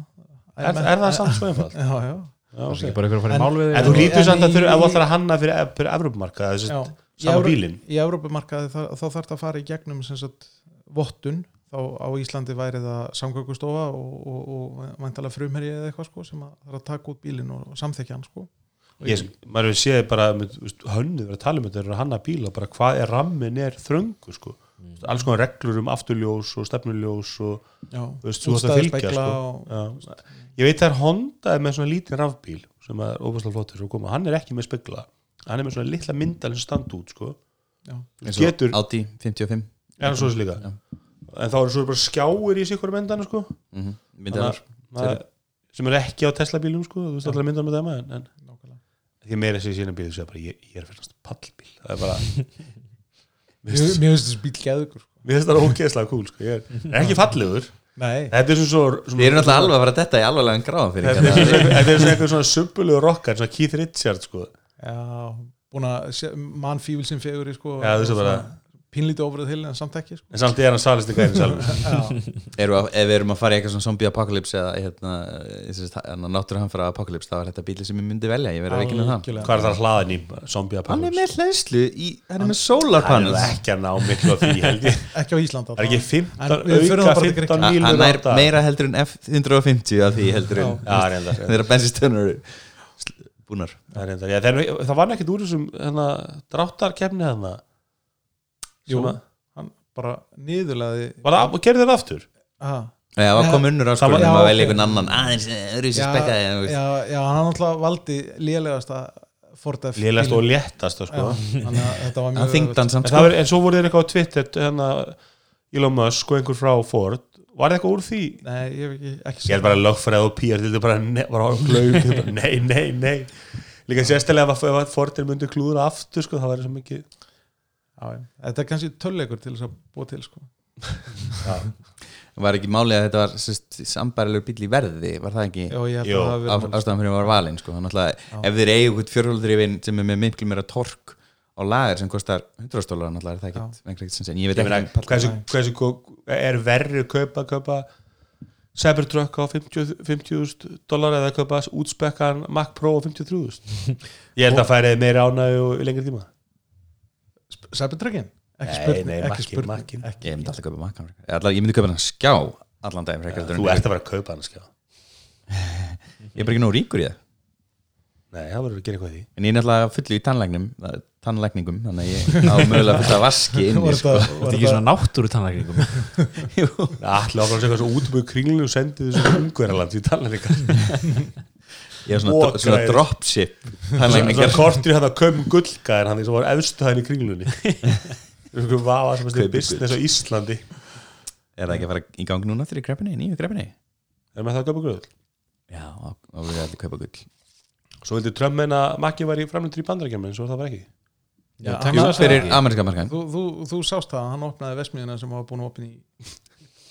Speaker 2: er, er það samt svo einfalt?
Speaker 5: já já,
Speaker 2: Já,
Speaker 3: Það er
Speaker 2: ok.
Speaker 3: ekki bara ykkur að fara í
Speaker 5: En-
Speaker 3: mál við
Speaker 2: en þú
Speaker 3: þig?
Speaker 5: lí-
Speaker 2: lítur
Speaker 5: En
Speaker 2: samt
Speaker 5: í-
Speaker 2: að þurfa ef
Speaker 5: í-
Speaker 2: þú ætlar að hanna fyrir, E- fyrir Evrópumarka
Speaker 5: já. Í
Speaker 2: saman
Speaker 5: Evró-
Speaker 2: bílinn
Speaker 5: í Evrópumarkaði þá, þá þarf það að fara í gegnum sem sagt vottun þá á Íslandi væri það samgöngustofa og, og, og vantala frumherji eða eitthvað sko sem að þarf að taka út bílinn og, og samþekja hann sko
Speaker 2: ég, maður hefur séð bara hönnu verið að tala um þetta, þeir eru að hanna bíla bara hvað er rammin er þröngu sko. mm. alls konar reglur um afturljós og stefnuljós og
Speaker 5: Já,
Speaker 2: þú veist, þú veist að fylgja sko.
Speaker 5: og,
Speaker 2: Já. ég veit það er Honda er með svona lítið rafbíl sem er óbærslega flottur og koma, hann er ekki með spegla hann er með svona litla myndal sem standa út sko.
Speaker 5: Já.
Speaker 2: Þú getur,
Speaker 4: Audi 55
Speaker 2: er hann svo þessi líka
Speaker 4: Já.
Speaker 2: en þá eru svo bara skjáir í sig hverju myndana sko.
Speaker 4: mm
Speaker 2: Þannig
Speaker 4: -hmm.
Speaker 2: að- maður- sem eru ekki á Tesla bílum sko. þú veist allar myndana með þeim en, en
Speaker 5: nákvæmlega.
Speaker 2: því meira sér sínum bíl þú segir bara ég, ég er fyrst pallbíl það er bara
Speaker 5: Mér
Speaker 2: mér
Speaker 5: mér finnst þessi bíl geðugur sko.
Speaker 2: finnst það ógeðslega cool sko. ég er, er ekki fallegur
Speaker 5: Nei,
Speaker 2: þetta er svona svo
Speaker 4: Við erum alltaf alveg að fara að detta í alvarlegan gráðan fyrir hérna.
Speaker 2: þetta er svona- þetta er svona eitthvað svona subbulegu rokkar svona Keith Richards sko.
Speaker 5: já, búin að mann fífil sem fegur í sko,
Speaker 2: Já, þessu
Speaker 5: og
Speaker 2: bara-
Speaker 5: svona pínlítið ofrið til en samt ekki sko.
Speaker 2: en samt er hann salist í hverjum sjálfur
Speaker 5: já,
Speaker 4: Eru að, ef við erum að fara í eitthvað svona zombie apocalypse eða hérna, hérna náttúruhamfara apocalypse þá er þetta bíli sem ég myndi velja, ég verið að veikina það
Speaker 5: Algjörlega.
Speaker 2: hvað er það að hlaða ným, zombie
Speaker 4: Hann er
Speaker 2: apocalypse
Speaker 4: með hlæðslu, í, hann er með
Speaker 2: hann er
Speaker 4: solarpanels
Speaker 2: ekki að ná miklu af því Helgi.
Speaker 5: ekki á Íslanda
Speaker 2: það er ekki
Speaker 5: En
Speaker 2: 15
Speaker 5: við förum
Speaker 2: auka
Speaker 5: þá bara
Speaker 2: 15
Speaker 5: til Grikklands.
Speaker 2: mílur
Speaker 4: Hann
Speaker 2: á
Speaker 4: er
Speaker 2: dag.
Speaker 4: meira heldur en F-150 að því heldur en
Speaker 2: Já, reyndar.
Speaker 4: þeirra bensinstönnur búnar
Speaker 2: Það er reyndar, já, það er- það var ekkert úr þessum hérna, dráttarkefni hérna
Speaker 5: Jú.
Speaker 2: Svona-
Speaker 5: hann bara niðurlaði
Speaker 2: var það, og gerði það aftur
Speaker 5: aha,
Speaker 4: Já, það var
Speaker 5: Nei,
Speaker 4: komin unnur
Speaker 2: það var-
Speaker 4: áskurinn um að
Speaker 5: já,
Speaker 4: velja
Speaker 5: ok.
Speaker 4: einhvern annan aðeins eh, öðruvísi
Speaker 5: já,
Speaker 4: spekkaði en þú veist.
Speaker 5: já, já, hann alltaf valdi lélegasta Ford F
Speaker 2: lélast og
Speaker 5: bílinn.
Speaker 2: léttast
Speaker 5: Já,
Speaker 2: sko.
Speaker 5: þannig að þetta var
Speaker 4: Hann
Speaker 5: mjög
Speaker 4: þingd hann
Speaker 2: en,
Speaker 4: samt
Speaker 2: það
Speaker 4: sko
Speaker 2: var, en svo voru þeir eitthvað á Twitter hérna, Elon Musk og einhver frá Ford var það eitthvað úr því?
Speaker 5: nei, ég hef ekki, ekki
Speaker 2: ég held bara lögfræð og PR þetta bara, ne, bara á glaum bara, nei, nei, nei líka sérstælega ef að Fordir myndi klúðra aftur sko, það væri svo mikið
Speaker 5: já, já. þetta er kannski tölulegur til þess að búa til sko.
Speaker 4: Var ekki málið að þetta var sérst, sambærilegur bíl í verði, var það ekki
Speaker 5: já, ég held
Speaker 2: Jú,
Speaker 5: að það hafi
Speaker 4: á,
Speaker 5: verið mál.
Speaker 4: ástæðan fyrir að var valinn sko. Náttúrulega, ef þeir eigu eitthvað fjörhjóldrifin sem er með miklu meira tork á lager sem kostar 100 stólar náttúrulega er það ekkert, ekkert, ekkert sens en ég veit
Speaker 2: Ég meina,
Speaker 4: ekki
Speaker 2: hversu, hversu gó- er verri að kaupa, kaupa Cybertruck á 50 50.000 dólar eða kaupa útspekkan Mac Pro á 53.000 ég held að færið meira ánægju og í lengri tíma
Speaker 5: Cybertruckin? Ekki
Speaker 2: Nei,
Speaker 5: spurning,
Speaker 2: nei,
Speaker 5: ekki
Speaker 2: makkin,
Speaker 5: spurning
Speaker 2: makkin.
Speaker 5: Ekki.
Speaker 4: ég myndi alltaf kaupa makkan allar, ég myndi kaupa hann skjá allan daginn frekar heldur en
Speaker 2: þú
Speaker 4: ég-
Speaker 2: ert að vera að kaupa hann sko. skjá
Speaker 4: ég er bara ekki nóg ríkur í það
Speaker 2: nei, það verður að gera eitthvað í því
Speaker 4: en ég er náttúrulega fullu í tannlæknum það er tannlækningum, þannig að ég á mögulega fullt af vaski inn
Speaker 5: Var
Speaker 4: í sko.
Speaker 5: þetta-
Speaker 3: Þetta
Speaker 5: var
Speaker 3: er ekki
Speaker 5: þetta-
Speaker 3: svona um náttúru tannlækningum
Speaker 4: Jú.
Speaker 2: allir áfram að segja þessu útbúið kringlinu og sendið þessu ungverðarland í talanleika
Speaker 4: ég er svona,
Speaker 2: Vokaðir.
Speaker 4: svona dropship
Speaker 2: svona
Speaker 4: tannlækningar
Speaker 2: kortir hérna köm gullgæðir hann því sem var efstu hæðin í kringlunni einhverjum vafa sem að stið
Speaker 4: Kaupi
Speaker 2: business á Íslandi
Speaker 4: er það ekki að fara í gang núna þegar í greppinni, nýju greppinni
Speaker 2: er maður það að kaupa gull
Speaker 4: já, þá þá verður allir kaupa gull
Speaker 2: svo vildi Trump meina að Maggi var í framlundur í bandarækjum en svo það var ekki
Speaker 5: Já,
Speaker 3: Já,
Speaker 5: hann
Speaker 4: Jú,
Speaker 5: sagði það
Speaker 4: fyrir
Speaker 5: ekki.
Speaker 4: ameríska markan
Speaker 5: Þú, þú, þú sást það, að hann opnaði vesmiðina sem hafa búin að opna í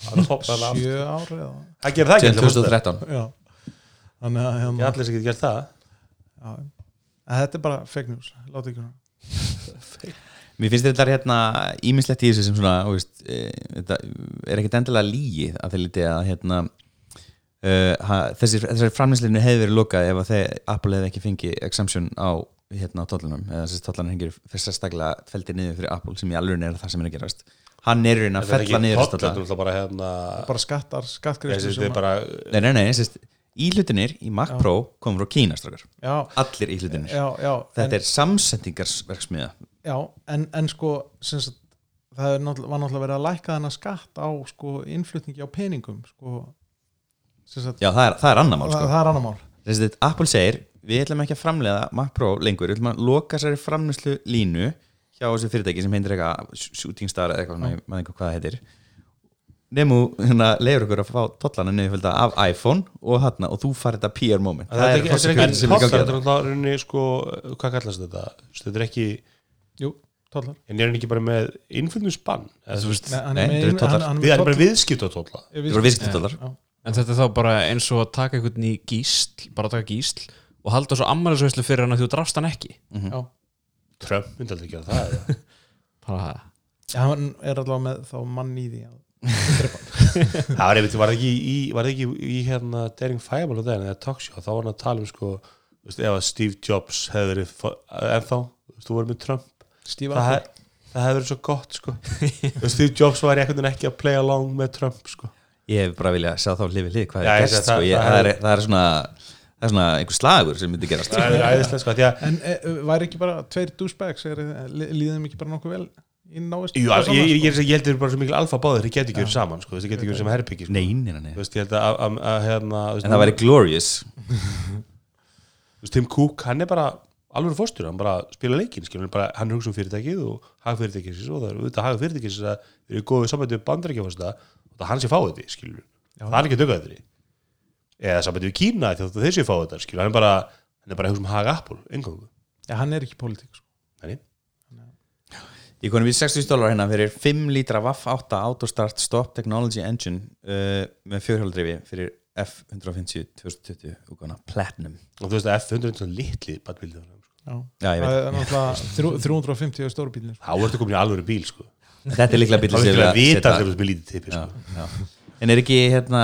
Speaker 2: hann hoppaði það aftur.
Speaker 5: sjö ár eða
Speaker 2: það gerir það ekki
Speaker 4: síðan
Speaker 2: allir fórsetar.
Speaker 4: 2013
Speaker 5: Já. Þannig að
Speaker 2: ekki
Speaker 5: hérna,
Speaker 2: allir sem getur gert það
Speaker 5: já. En þetta er bara fake news, láta ekki hún
Speaker 4: Mér finnst þetta hérna ímislegt í þessu sem svona, þú veist, e, þetta er ekkert endilega lígi að þeir liti að hérna uh, ha, þessi, þessari framlýslinu hefði verið lokað ef að þeir Apple hefði ekki fengið exemption á hérna á tollunum eða þessi tollanum hengir fyrst sérstaklega feldir niður fyrir Apple sem í alveg er það sem er að gerast hann er í raun að
Speaker 2: Þetta er
Speaker 4: fella
Speaker 2: ekki
Speaker 4: niður
Speaker 2: toll, þetta er
Speaker 4: tollan
Speaker 2: náttúrulega bara hérna
Speaker 5: Bara skattar, skattgreistu
Speaker 2: þessi, þetta er bara
Speaker 4: Nei, nei, nei, sérst, íhlutinir í Mac
Speaker 5: Já.
Speaker 4: Pro komur frá Kína strókar,
Speaker 5: Já,
Speaker 4: allir íhlutinir
Speaker 5: já, já
Speaker 4: Þetta
Speaker 5: en,
Speaker 4: er samsendingarsverksmiða
Speaker 5: Já, en, en sko sem sagt, það er náttúrulega, var náttúrulega verið að lækka þennan skatt á sko, innflutningi á peningum sko, sem sagt,
Speaker 4: Já, það er, það er annar mál
Speaker 5: það,
Speaker 4: sko.
Speaker 5: það er annar mál
Speaker 4: Þessi þetta, Apple segir við ætlum ekki að framleiða Mac Pro lengur við ætlum að loka sér framleiðslu línu hjá þessu fyrirtæki sem heitir eitthvað Shooting Star eða eitthvað, svona, ég maður eitthvað hvað það heitir nemu hérna leiður okkur að fá tollana niðurfjölda af iPhone og þarna og þú farið þetta PR moment
Speaker 2: þetta er ekki- þetta er
Speaker 4: hrossakjötið
Speaker 2: ekki
Speaker 4: sem er
Speaker 2: toll, þetta er
Speaker 4: ekki að gera
Speaker 2: náttúrulega rauninni, sko, hvað kallast þetta þetta er ekki
Speaker 5: Jú, tóllar
Speaker 2: en ég er ekki bara með innfylgningsbann það
Speaker 5: Nei, hann
Speaker 4: Nei,
Speaker 5: er
Speaker 4: þetta eru
Speaker 5: með-
Speaker 4: tollar.
Speaker 5: hann- hann
Speaker 2: er
Speaker 5: með
Speaker 2: bara viðskipt á tólla
Speaker 5: toll-
Speaker 4: Þetta voru viðskiptadollar.
Speaker 5: Já.
Speaker 3: En þetta er þá bara eins og að taka einhvern í gísl bara taka gísl og halda svo ammælisveislu fyrir hann að þú drafst hann ekki
Speaker 5: Já,
Speaker 2: Trump myndi aldrei gera það eða?
Speaker 3: bara það
Speaker 5: Já, hann er allavega með þá mann í því að
Speaker 2: Það var einmitt, var það ekki í, var það ekki í hérna Daring Fireball og daginn, eða Talkshow, þá var hann að tala um sko, þú veist, ef að Steve Jobs hefði verið, fo- ennþá, þú veist, þú voru með Trump,
Speaker 5: stífa
Speaker 2: það, hef, það hefði verið svo gott sko, Þú veist, Steve Jobs var einhvern veginn ekki að play along með Trump sko,
Speaker 4: Ég hef bara viljað sjá þá hlifið hlið hvað
Speaker 2: Já,
Speaker 4: er
Speaker 2: ég
Speaker 4: gerst
Speaker 2: segi það-
Speaker 4: sko. Ég-
Speaker 2: það
Speaker 4: það
Speaker 2: er-
Speaker 4: er- það er svona það er svona einhver slagur sem myndi gerast
Speaker 2: það er æðislega sko, því að,
Speaker 5: En e, væri ekki bara tveir douchebags er, e, li- líðum ekki bara nokkuð vel í návist sko.
Speaker 2: jú, ég, ég, ég, ég heldur bara svo mikil alfa báður, þeir getur ekki verið saman sko, þeir getur ekki verið sem herbyggi sko,
Speaker 4: Nein, nein,
Speaker 2: þú
Speaker 4: nein
Speaker 2: veist, ég held að, að, að hérna, þú veist,
Speaker 4: En það væri glorious
Speaker 2: þú veist, Tim Cook, hann er bara alveg fórstur, hann bara spila leikinn skilur, hann bara, hann hugsa um fyrirtækið og hagfyrirtækisins og það er auðvitað hagfyrirtækisins að við erum góðið sambandi við bandarækjafasta og það hann sé fáið því, skilur það er ekki að dögða því eða sambandi við Kína því að þeir sé fáið þetta, skilur, hann er bara hann er bara að hugsa um hag Apple, engangu
Speaker 5: Já, hann er ekki pólitík sko.
Speaker 2: þannig,
Speaker 4: Ég konum við 60 dólar hérna fyrir 5 lítra Vaff 8 Autostart Stop Technology Engine uh, með fjórhjóldrifi fyrir F150 2020 úkona Platinum
Speaker 2: og þú veist að F100 er svona litli sko. badbildið
Speaker 5: Já.
Speaker 4: Já, ég
Speaker 5: það er náttúrulega þrjú- 350 stóru sko. bílnir
Speaker 2: þá ertu komin í alvöru bíl sko
Speaker 4: Þetta er líklega
Speaker 2: þá
Speaker 4: bíl
Speaker 2: ertu til að vita þegar þú ert með lítið tippi
Speaker 4: Já,
Speaker 2: sko.
Speaker 4: já. En er ekki hérna,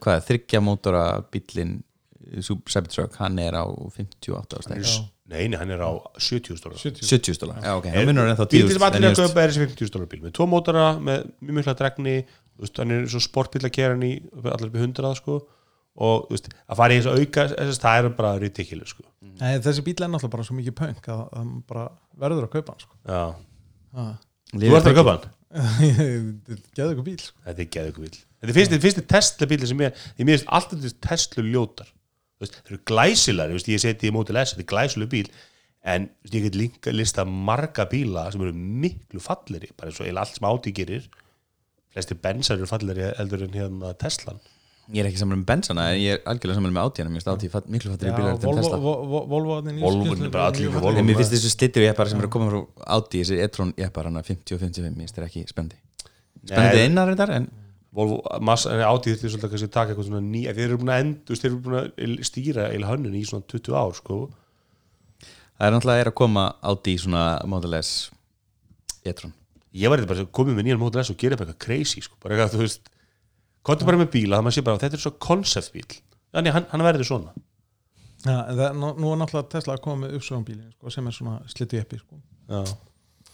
Speaker 4: hvað, þryggja mótora bíllinn uh, Cybertruck, hann er á 58 ára stæk
Speaker 2: nei, nei, hann er á 70 stóra
Speaker 5: 70
Speaker 4: 70 stóla, já ok, hann munur ennþá 10
Speaker 2: bíl sem allir að köpa er þessi 50 stóra bíl með tvo mótara, með mjög mikla dregni þú veist, hann er svo sportbíl að kera hann í allar upp í 100 sko og þú veist, að fara í þessu auka þessi, það er bara ridikil sko.
Speaker 5: Nei, þessi bíl er náttúrulega bara svo mikið punk að að maður bara verður að kaupa hann sko.
Speaker 2: Já.
Speaker 5: Ha.
Speaker 2: þú ert að köpa hann
Speaker 5: geðu ykkur bíl sko.
Speaker 2: Þetta er geðugu bíl Þetta er fyrsti, fyrsti Tesla bíl sem ég Ég mér finnst alltaf til Tesla ljótar Þú veist, Þeir eru glæsilar, þú veist, ég seti í mótil S Þetta er glæsilu bíl En þú veist, ég get líka lista marga bíla sem eru miklu falleri bara eins og eiginlega allt sem áti gerir flesti bensar eru falleri eldur en hérna Teslan
Speaker 4: Ég er ekki saman með bensana, en ég er algjörlega saman með átíðana, mér finnst átíð miklu fattir í bílar en Tesla
Speaker 5: Volvo
Speaker 2: Volvo er bara allir með Volvo.
Speaker 4: En mér finnst þessu stittir jeppar sem eru að koma frá átíð, þessi e-tron jeppar, hann er 50 og 55, mér finnst þeir ekki spendi Spendið
Speaker 2: Nei,
Speaker 4: innar reyndar, en
Speaker 2: Volvo, mass, en áti þurfti svolítið kannski að taka eitthvað svona ný Þeir eru búin að end, þú veist, þeir eru búin að stýra eil hönnun í svona 20 ár, sko
Speaker 4: það er náttúrulega er að koma átíð svona Model S e-tron
Speaker 2: ég var þetta bara komið með nýjan mótil S og gera bara eitthvað crazy sko, bara eitthvað, þú veist komdu bara með bíla, það maður sé bara, þetta er svo concept bíl þannig hann, hann verður svona
Speaker 5: ja, en það, nú, nú er náttúrulega Tesla að koma með uppsögum bílin sko, sem er svona slittu eppi sko.
Speaker 2: já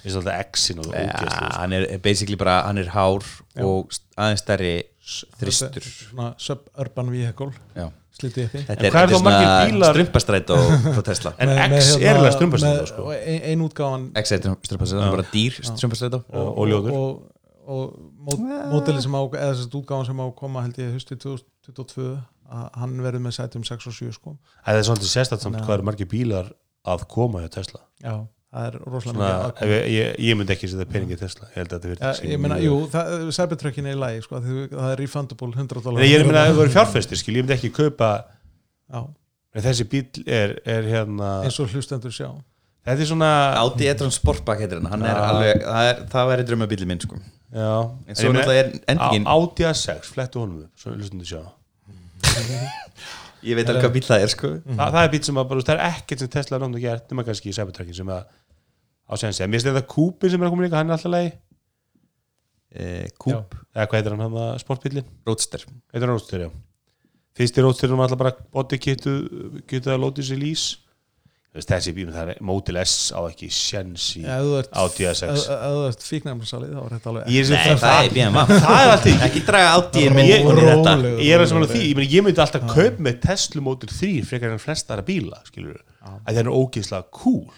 Speaker 2: eins og alltaf X-in og það
Speaker 4: Ja,
Speaker 2: ógeðslega,
Speaker 4: hann er basically bara, hann er hár og st- aðeins stærri
Speaker 5: Þetta
Speaker 4: þristur
Speaker 5: er svona suburban vehicle
Speaker 4: Já.
Speaker 5: slittu eppi
Speaker 4: Þetta
Speaker 2: En
Speaker 4: er,
Speaker 2: hvað eru
Speaker 4: þetta er
Speaker 2: þá margir
Speaker 4: svona
Speaker 2: bílar?
Speaker 4: strumpastræt á frá Tesla
Speaker 2: en X er alveg strumpastrætó sko.
Speaker 5: ein, ein útgáfan
Speaker 4: X er strumpastræt, hann er bara dýr strumpastræt
Speaker 2: sko, og, og ljóður
Speaker 5: og, og, og mótili sem á eða þessast útgáfan sem á að koma held ég hustið 2022 að hann verður með sætum 6 og 7 sko.
Speaker 2: það er svolítið sérstætt samt
Speaker 5: Nei.
Speaker 2: hvað eru margir bílar að koma hjá Tesla
Speaker 5: já, það er rosalega
Speaker 2: svona,
Speaker 5: mikið
Speaker 2: ef ég, ég, ég myndi ekki setja peningi í Tesla ég held að þetta
Speaker 5: Ja,
Speaker 2: verður
Speaker 5: Eh, ég meina, jú, það- Cybertruckin er í lagi sko, því, það er refundable 100 dólar
Speaker 2: Nei, ég meina, ef það voru fjárfestir, skil, ég myndi ekki kaupa
Speaker 5: Já,
Speaker 2: en þessi bíl er, er hérna
Speaker 5: eins og hlustendur sjá
Speaker 2: þetta er svona
Speaker 4: Audi e-tron Sportback heitir hann, hann er
Speaker 2: Ah.
Speaker 4: alveg það, er, það væri draumabíli minn sko en
Speaker 2: já, en ég
Speaker 4: svo
Speaker 2: meina,
Speaker 4: náttúrulega er
Speaker 2: Á-
Speaker 4: endingin,
Speaker 2: Audi A6, flettu honum upp svo lustum við sjá
Speaker 4: ég veit alveg hvað bíl það er sko
Speaker 2: Þa, það er bíl sem að bara, þú veist, það er ekkert sem Tesla er náttúrulega gert, nema kannski í Cybertruckin sem að á sensi, en mér finnst þetta Kúpin sem er að koma líka, hann er alltaf leið
Speaker 4: Eh, Coupe,
Speaker 2: eða hvað heitir hann hann að sportbílin,
Speaker 4: Roadster
Speaker 2: heitir hann Roadster, já fyrsti Roadsterum alltaf bara body kitu getur að lóti sér lís Þú veist, þessi bíl, það er Model S á ekki sens í,
Speaker 5: Já, ef þú ert-
Speaker 2: Audi A6.
Speaker 5: ef- ef þú ert fíknæmsalið þá er þetta alveg
Speaker 2: ég er sem
Speaker 4: það, er BMW
Speaker 2: það er alltaf
Speaker 4: ekki draga Audi minn
Speaker 2: Ég-
Speaker 4: inn í þetta
Speaker 5: Rólegur.
Speaker 2: ég er að samanlega því, ég, meni, ég myndi alltaf kaup með Tesla Model 3 frekar en flestara bíla skilur við, að það er ógeðslega cool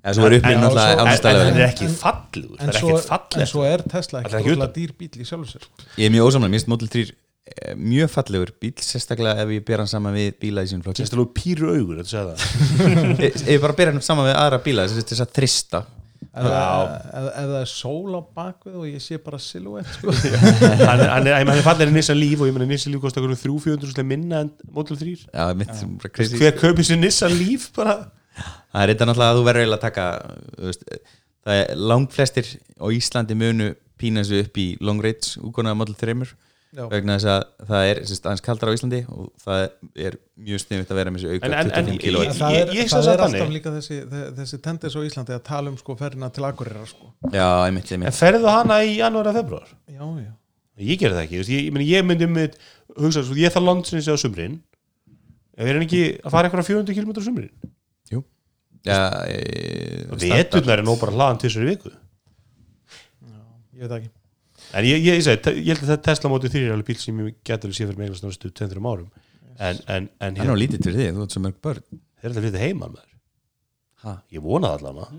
Speaker 4: en svo er uppminn
Speaker 2: En-
Speaker 4: náttúrulega
Speaker 2: en, en,
Speaker 4: ánstæðlega
Speaker 2: hann
Speaker 4: vel.
Speaker 2: er ekki fallegur það
Speaker 5: en
Speaker 2: er
Speaker 5: svo,
Speaker 2: ekkert
Speaker 5: en
Speaker 2: fallegt
Speaker 5: svo er Tesla
Speaker 2: Það er
Speaker 5: ekki
Speaker 2: ekki
Speaker 5: rosalega dýr bíl í sjálfu sér sko.
Speaker 4: ég er mjög ósamlega, mér finnst Model 3 eh, mjög fallegur bíl, sérstaklega ef ég ber hann saman við bíla í sínum flokki
Speaker 2: Sérst alveg pýru augur, þetta segja það
Speaker 4: ef ef ég bara bera hann saman við aðra bíla þessi þess að þrista
Speaker 5: ef, ef, ef, ef það er sól á bakvið og ég sé bara silhouette sko.
Speaker 2: Hann er, hann er, hann er fallegri Nissan Leaf og ég meina Nissan Leaf kostar okkur 3-400 rússlega minna en Model 3
Speaker 4: já, mitt, bara crazy.
Speaker 2: Hver kaupir sér Nissan Leaf bara?
Speaker 4: það er þetta náttúrulega að þú verður eiginlega að taka þú veist, það er langflestir á Íslandi munu pína þessu upp í long range úkona Model 3
Speaker 5: Já.
Speaker 4: vegna þess að það er sérst, aðeins kaldar á Íslandi og það er mjög sniðvitt að vera með þessu auka
Speaker 2: En- en- en-
Speaker 4: 25 kilo
Speaker 2: Ég-
Speaker 5: það er,
Speaker 2: ég- ég sé
Speaker 5: það
Speaker 2: það
Speaker 5: er alltaf
Speaker 2: þannig.
Speaker 5: líka þessi, þe- þessi tendens á Íslandi að tala um sko, ferina til Akureyra sko.
Speaker 4: já, einmitt,
Speaker 2: En
Speaker 4: einmitt.
Speaker 2: ferðu hana í janúar að februar?
Speaker 5: já, já,
Speaker 2: Ég gerði það ekki, þú veist, ég, ég, meina, ég myndi með hugsa, svo, ég þarf landsins á sumrin ef ég er hann ekki að fara eitthvað 400 km á sumrin
Speaker 4: já, e, standard.
Speaker 2: Veturnar er nú bara hlaðan til þessari viku
Speaker 5: ég veit það ekki
Speaker 2: En ég, ég, ég, segi, te- ég held að þetta Tesla Model 3 er alveg bíl sem ég getur að sé fyrir mig einhvers náttúrustu 200 árum en, en, en
Speaker 4: það er
Speaker 2: hérna,
Speaker 4: nú lítið fyrir því, þú ert svo mörg börn
Speaker 2: þeir eru að flytja heima maður.
Speaker 4: Ha?
Speaker 2: Ég vona það allan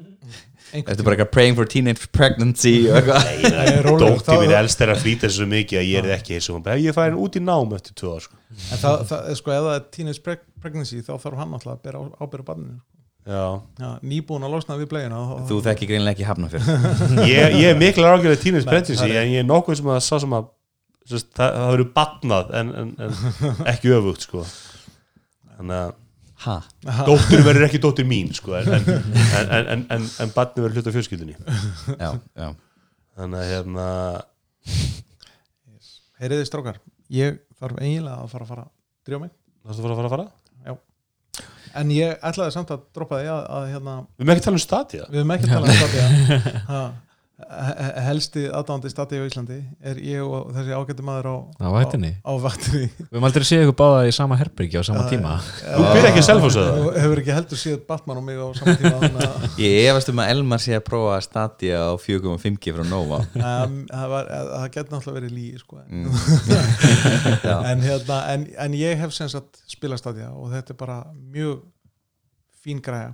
Speaker 4: Þetta er bara eitthvað praying for teenage pregnancy og eitthvað
Speaker 5: Nei,
Speaker 2: að
Speaker 5: rólegur,
Speaker 2: Dótti
Speaker 5: þá-
Speaker 2: mín elst er að flýta þessu mikið að ég er ekki þessu Ef ég færi hann út í nám eftir tvö ár sko.
Speaker 5: en það, það, er, sko, ef það er teenage preg- pregnancy þá þarf hann alltaf að bera ábyrða barninu
Speaker 2: Já.
Speaker 5: já, nýbúin að losna við blegina þá-
Speaker 4: Þú þekki greinlega ekki hafna fyrir
Speaker 2: Ég, ég er mikil ráðgjörð að tínast
Speaker 5: Nei,
Speaker 2: brendins
Speaker 5: það er-
Speaker 2: en ég er nokkuð sem að sá sem að sem sagt, það, það eru batnað en, en, en ekki öfugt sko. Þannig að
Speaker 4: Ha?
Speaker 2: dóttir verður ekki dóttir mín sko, en, en, en, en, en, en batni verður hluta fjölskyldinni
Speaker 4: Já, já
Speaker 2: Þannig að hérna
Speaker 5: Heyriði strákar, ég þarf eiginlega að fara að fara að drjá mig
Speaker 2: Það er að fara að fara að fara?
Speaker 5: en ég ætlaði samt að droppa því að, að hérna,
Speaker 2: Við erum ekki að tala um statið
Speaker 5: við höfum ekki að tala um Stadia Ha, he- helsti aðdándi Stadia á Íslandi er ég og þessi ágættu maður á,
Speaker 3: Á vaktinni?
Speaker 5: á, á vaktinni.
Speaker 3: Við höfum aldrei séð ykkur báða í sama herbergi á sama tíma
Speaker 2: Þú byrjar ekki í Selfoss, eða?
Speaker 5: Þú hefur ekki heldur séð Batman og mig á saman tíma þannig að
Speaker 4: Ég efast um að Elmar sé að prófa að stadia á 4.5G frá Nova
Speaker 5: um, það, var- það- það getur náttúrulega verið líi sko.
Speaker 4: Mm. Já.
Speaker 5: en, hérna, en, en ég hef sem sagt spilast að ég og þetta er bara mjög fín græja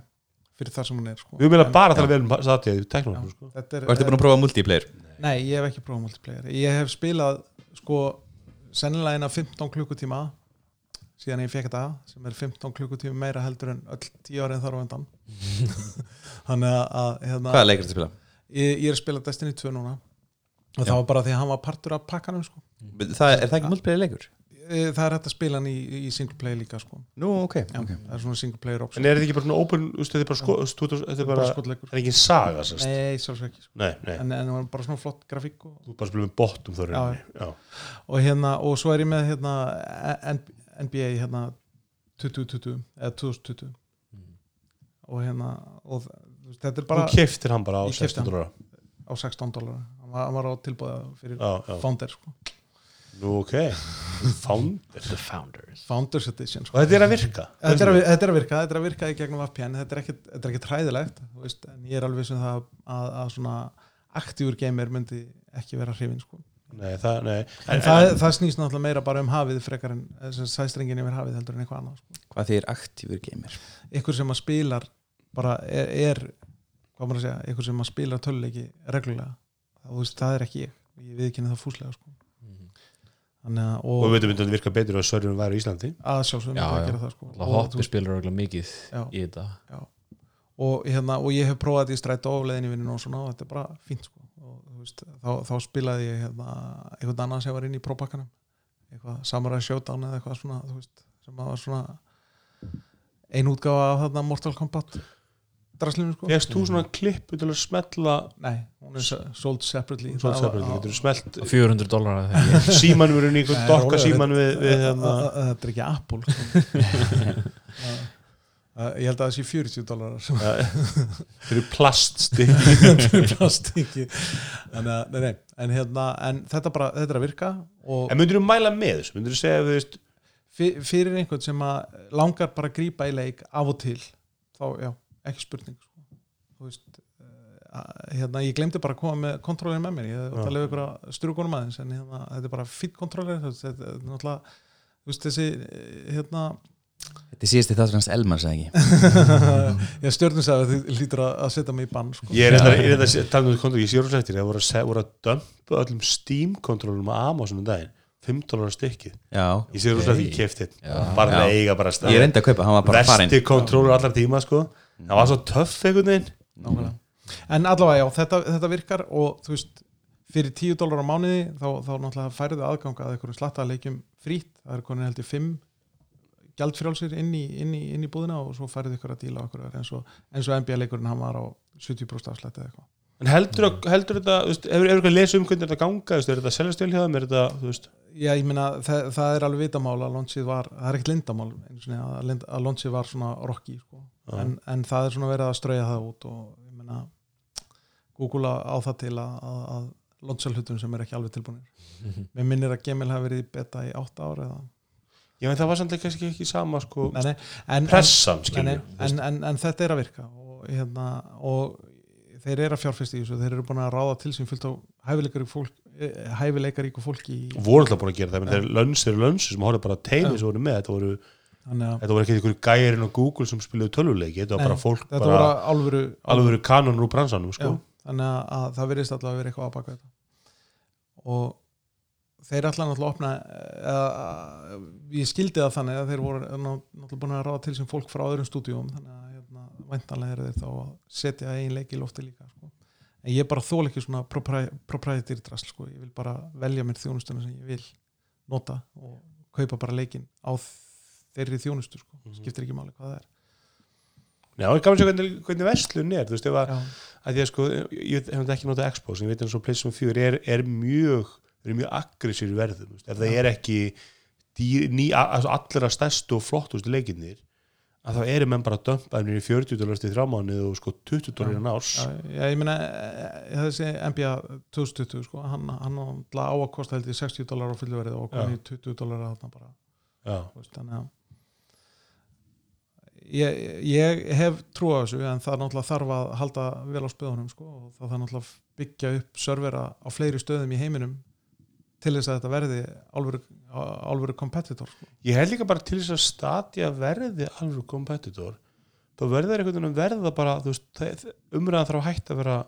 Speaker 5: fyrir það sem hún er sko.
Speaker 2: Við erum
Speaker 5: En-
Speaker 2: eiginlega bara að tala vel um statið í teknum
Speaker 5: Já,
Speaker 2: sko.
Speaker 5: þetta
Speaker 4: Þú ertu búin að prófa multiplayer
Speaker 5: Nei, ég hef ekki prófað multiplayer ég hef spilað sko sennilega eina 15 klukkutíma síðan ég fekk þetta sem er 15 klukkutíma meira heldur en öll 10 árin þar á undan þannig að, að hérna,
Speaker 4: Hvaða leikir þetta spila?
Speaker 5: ég, ég er að spila Destiny 2 núna og það var bara því að hann var partur af pakkanum sko.
Speaker 4: Það, er það ekki multiplayer leikur?
Speaker 5: Eh, það er hægt að spila hann í, í single play líka sko.
Speaker 4: Nú, ok,
Speaker 5: Já,
Speaker 4: okay.
Speaker 5: það er svona single player option
Speaker 2: En er þetta ekki bara svona open, þú veist, þetta er bara sko, þú veist, þetta er bara,
Speaker 5: bara skotleikur
Speaker 2: það er ekki saga, sérst Nei,
Speaker 5: nei, sjálfsög ekki sko.
Speaker 2: nei,
Speaker 5: en, en það var bara svona flott grafík og,
Speaker 2: þú bara spilum við bottum þar
Speaker 5: Já.
Speaker 2: Já,
Speaker 5: og hérna, og svo er ég með hérna, N- NBA hérna 2020, eða 2020
Speaker 3: Mm.
Speaker 5: og hérna og þú veist, þetta er
Speaker 2: þú
Speaker 5: bara
Speaker 2: keftir hann bara á
Speaker 5: Ég
Speaker 2: 16
Speaker 5: keypti hann.
Speaker 2: dólar
Speaker 5: á 16 dólar hann var, hann var á tilbúða fyrir
Speaker 2: Já, já,
Speaker 5: Founder, sko.
Speaker 2: nú ok Found
Speaker 3: The Founders
Speaker 5: Founders Edition
Speaker 2: Og
Speaker 5: sko.
Speaker 2: þetta er að virka
Speaker 5: þetta, er að, þetta er að virka, þetta er að virka í gegnum VPN þetta er ekkit, þetta er ekkit hræðilegt þú veist, en ég er alveg sem það að, að svona aktífur gamer myndi ekki vera hrifin sko.
Speaker 2: Nei, það, nei
Speaker 5: en það, það snýst náttúrulega meira bara um hafið frekar en eh, sem sagt, sæstrengin yfir hafið heldur en eitthvað annað sko.
Speaker 4: Hvað þið er aktífur gamer?
Speaker 5: ykkur sem að spilar bara er, er hvað maður að segja, ykkur sem að spila töluleiki reglulega, það, þú veist, það er ekki ég ég viðkynna það fúslega sko.
Speaker 3: Mm.
Speaker 5: þannig að,
Speaker 2: Og við
Speaker 5: og
Speaker 2: veitum að þetta virka betur að sörjum væri í Íslandi
Speaker 5: að sjálfsögum
Speaker 3: Já,
Speaker 5: að
Speaker 3: já.
Speaker 5: gera það sko.
Speaker 3: Það
Speaker 5: og,
Speaker 3: hoppi
Speaker 5: þú-
Speaker 3: spilur örugglega mikið
Speaker 5: Já.
Speaker 3: í þetta
Speaker 5: og, hérna, og ég hef prófað þetta í strætó og leðin í vinnun og svona og þetta er bara fínt sko. og, þú veist, þá, þá spilaði ég hérna, einhvern annan sem var inn í próbakkanum eitthvað Samurai Showdown eða eitthvað svona þú veist, sem að var svona ein útgáfa af þarna Mortal Kombat draslinu sko
Speaker 2: Fegst þú svona klippu til að smetla
Speaker 5: Nei, hún er s- sold separately
Speaker 2: Svona
Speaker 5: Það
Speaker 2: separate,
Speaker 5: var-
Speaker 2: þú getur smelt
Speaker 3: 400 dólar að þegar
Speaker 2: símanum verið einhver
Speaker 5: Nei,
Speaker 2: dokka
Speaker 5: rólegur,
Speaker 2: síman við, við hérna
Speaker 5: Ö- ö- ö- Þetta er ekki Apple sko. Ö, Ég held að það sé 40 dólarar sem
Speaker 2: fyrir plaststi
Speaker 5: er plastíki en, uh, nei, nei, en, hérna, en þetta, bara, þetta er að virka og
Speaker 2: En myndirðu mæla með þessu, myndirðu segja þú veist,
Speaker 5: fyr- fyrir einhvern sem að langar bara að grípa í leik af og til þá, já, ekki spurning sko. þú veist eh, hérna, ég glemdi bara að koma með kontrólerin með mér ég
Speaker 2: Já.
Speaker 5: átti að lefa ykkur að strugunum aðeins en hérna, þetta er bara fýtt kontrólerin þetta þetta er náttúrulega þú veist, þessi, eh, hérna
Speaker 4: Þetta síðast í þáttur hans Elmar, sagði ekki
Speaker 5: ég stjórnum sagði að þið lítur að að setja mig í bann sko.
Speaker 2: Ég er þetta, ég er þetta, talum við kontur, ég sé rúslega eftir, það voru að, se- voru að dömpa öllum Steam-kontrólum að Amazon um daginn, 5 dólar stykkið,
Speaker 4: Já
Speaker 2: ég sé rúslega eftir ég kefti einn. bara
Speaker 4: Já.
Speaker 2: það eiga bara stað,
Speaker 4: Ég reyndi að kaupa, hann var bara farinn
Speaker 2: vesti kontrólur allar tíma sko, það var svo töff einhvern veginn,
Speaker 5: Nákvæmlega. Mhm. en allavega já, þetta, þetta virkar og þú veist fyrir 10 dólar á mánuði þá, þá náttúrulega færðu aðgang að einhverjum slattaðleikjum frýtt, það er konin heldur 5 gjaldfrjálsir inn í, inn, í, inn í búðina og svo færðu ykkur að díla okkur eins og, eins og NBA-leikurinn hann var á 70% afslætti eða eitthvað
Speaker 2: en heldur,
Speaker 4: Mm.
Speaker 2: heldur þetta, þú veist, hefur eitthvað lesið um hvernig þetta ganga, þú veist, er þetta seljastjálfhjáðum, er þetta, þú veist,
Speaker 5: Já, ég meina, það, það er alveg vitamál að launchið var, það er ekkert lindamál einu sinni, að, lind- að launchið var svona rocki sko.
Speaker 2: Já.
Speaker 5: en, en það er svona verið að strauja það út og ég meina Google á á það til að, að, að launcha hlutum sem er ekki alveg tilbúinir Mér minnir að Gemil hafi verið í beta í 8 ára eða
Speaker 2: já en það var samt kannski ekki sama sko,
Speaker 5: Nei, nei, en, en,
Speaker 2: pressan,
Speaker 5: en,
Speaker 2: skiljum,
Speaker 5: en, en, en þetta er að virka og, hérna, og þeir eru að fjárfesta í þessu þeir eru búin að ráða til sín fullt á hæfileikaríku fólk, eh, hæfileikaríku fólki í,
Speaker 2: voru alltaf búin að gera það, menn þeir lönns þeir lönns sem horfðu bara á teimi sem voru með, þetta voru
Speaker 5: þannig að
Speaker 2: þetta voru ekki einhverju gærin og Google sem spiluðu tölvuleiki, þetta var
Speaker 5: Nei,
Speaker 2: bara fólk
Speaker 5: þetta
Speaker 2: bara,
Speaker 5: voru alvöru,
Speaker 2: alveg verið kanonur úr bransanum sko.
Speaker 5: Já, þannig að, að það virðist allavega að vera eitthvað að baka þetta og þeir allan alltaf opna eða, að, ég skildi það þannig að þeir voru ná- náttúrulega búin að ráða til sem fólk frá öðrum stúdíum þannig að hérna, væntanlega eru þeir þá að setja einn leik í lofti líka sko. en ég bara þól ekki svona proprietary drasl sko. ég vil bara velja mér þjónustuna sem ég vil nota og kaupa bara leikin á þeirri þjónustu sko. skiptir ekki máli hvað það er
Speaker 2: Já, ég gaman að sjá hvernig, hvernig verslun er þú veist, ef að,
Speaker 5: Já.
Speaker 2: að ég sko ég ég hef þetta ekki notað Xbox, en ég veit að svo PlayStation 4 er, er mjög, er mjög aggressív í verðum, þú veist, ef það er ekki dýr, ný, a- a- allra stærstu og flottustu leikinnir að þá eru menn bara að dömpa þeim niður í 40 dólarst í þrámánuð og sko 20 dólar en árs
Speaker 5: Já, ég meina eh, þessi NBA 2020 sko, hann, hann náttúrulega á að kosta held í 60 dólar á fullverið og
Speaker 2: Já.
Speaker 5: okkur í 20 dólar þarna bara,
Speaker 2: já,
Speaker 5: þú veist, þannig að Ég, ég hef trú á þessu en það er náttúrulega þarf að halda vel á spöðunum sko, og það þarf náttúrulega að byggja upp servera á fleiri stöðum í heiminum til þess að þetta verði álveru, álveru competitor sko.
Speaker 2: ég held líka bara til þess að statja verði alveg kompetitor þá verður einhvern veginn að verða bara þú veist, það- umræðan þarf að hætta að vera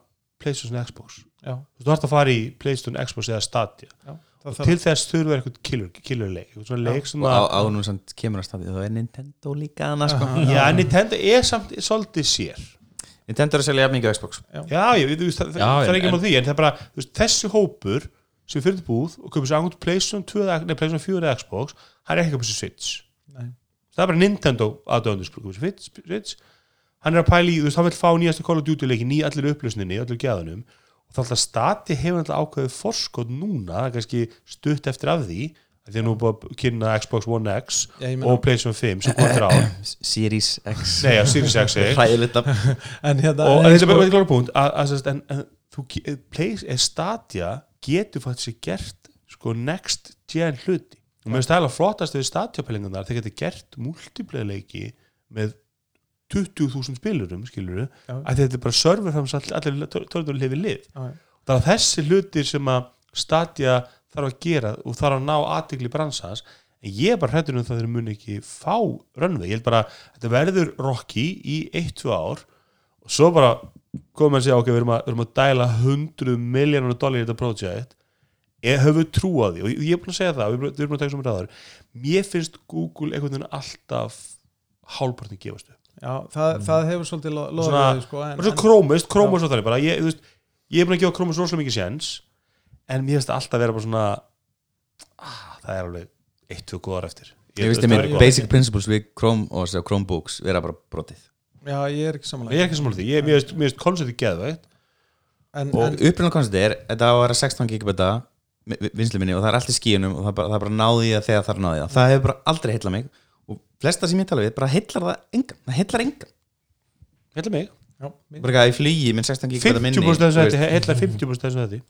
Speaker 2: Playstation Xbox,
Speaker 5: Já,
Speaker 2: þú veist, þú hægt að fara í Playstation Xbox eða statja,
Speaker 5: já, það
Speaker 2: og
Speaker 5: þarf-
Speaker 2: til þess þurfa einhvern killer, killer leik, einhvern svona
Speaker 5: Já.
Speaker 2: leik sem
Speaker 4: og á,
Speaker 2: að
Speaker 4: ánum samt kemur að staði þá er Nintendo líka annars sko.
Speaker 2: Ah, já, en Nintendo er samt svolítið sér
Speaker 4: Nintendo er að selja jafn mikið á Xbox
Speaker 2: já, ég, þú veist, það,
Speaker 3: Já,
Speaker 2: það er
Speaker 3: en-
Speaker 2: ekki mál því en það er bara, þú veist, þessi hópur sem fyrir til búð og köpum sér angut Playstation 2, eða- nei, Playstation 4 eða Xbox hann er ekki að köpum sér Switch
Speaker 5: Nei.
Speaker 2: það er bara Nintendo aðdöðandi köpum sér Switch, Switch hann er að pæla í, þú veist, hann vil fá nýjasta Call of Duty leikin ný allir upplösninni, allir gæðunum og það alltaf stati hefur alltaf ákveðið forskot núna, það er kannski stutt eftir af því af því að nú er búið að kynna Xbox One X
Speaker 5: Já, ég meina-
Speaker 2: og Playstation 5 sem komið frá,
Speaker 4: Series X
Speaker 2: nei, já, Series X eh.
Speaker 4: hræðilegt að
Speaker 5: en hérna
Speaker 2: og
Speaker 5: en
Speaker 2: þetta er
Speaker 5: sko-
Speaker 2: bara eitthvað punkt að, að, að, en, en þú ge- eh, place, eh, Stadia getur faktisk gert sko next gen hluti og mér finnst það alveg flottast við Stadia-pælingarnar þeir getur gert multiplayer-leiki með 20.000 spilurum skilur
Speaker 5: Já.
Speaker 2: að þetta er bara server fram all, allir tölvunum lifi lið
Speaker 5: Já, já.
Speaker 2: það er þessi hlutir sem að Stadia þarf að gera og þarf að ná aðtikli bransans en ég er bara hrættur um það að þeir muni ekki fá rönnveg, ég held bara að þetta verður Rocky í 1-2 ár og svo bara komum við að segja ok, við erum að, við erum að dæla 100 miljónar dollar í þetta project ég höfum við trú á því og ég ég er búin að segja það, við erum- við erum búin að taka sem ræðar mér finnst Google einhvern veginn alltaf hálpartin gefast upp
Speaker 5: já, það, það hefur svolítið lo- loðið
Speaker 2: Svona-
Speaker 5: við, sko, en,
Speaker 2: og svo
Speaker 5: en-
Speaker 2: Krómus, Krómus og þannig bara ég, þú veist, ég er búin að gefa Krómus rosalega mikið séns en mér finnst það alltaf vera bara svona ah, það er alveg eitt og góðar eftir
Speaker 4: Ég
Speaker 2: það
Speaker 4: veist ég
Speaker 2: er
Speaker 4: mér
Speaker 2: eitthvað-
Speaker 4: basic principles við Chrome og þessar Chromebooks vera bara brotið
Speaker 5: já, ég er ekki samanlega
Speaker 2: ég er ekki sammála því, ég, mér finnst- mér finnst konceptið geðvægt
Speaker 5: en,
Speaker 4: og
Speaker 5: en,
Speaker 4: upprinn á konstið er þetta á að vera 16 gigabæta vinslu minni og það er allt í skíunum og það er bara, það er bara náði það þegar það er náði það það hefur bara aldrei heillað mig og flesta sem ég tala við bara heillar það engan það heillar engan
Speaker 2: heila mig,
Speaker 5: já, mín-
Speaker 4: bara eitthvað í flugi minn 16 gigabæta minni
Speaker 2: 50% þessu
Speaker 4: þú
Speaker 2: þetta
Speaker 4: veist,
Speaker 2: heila 50% þessu þetta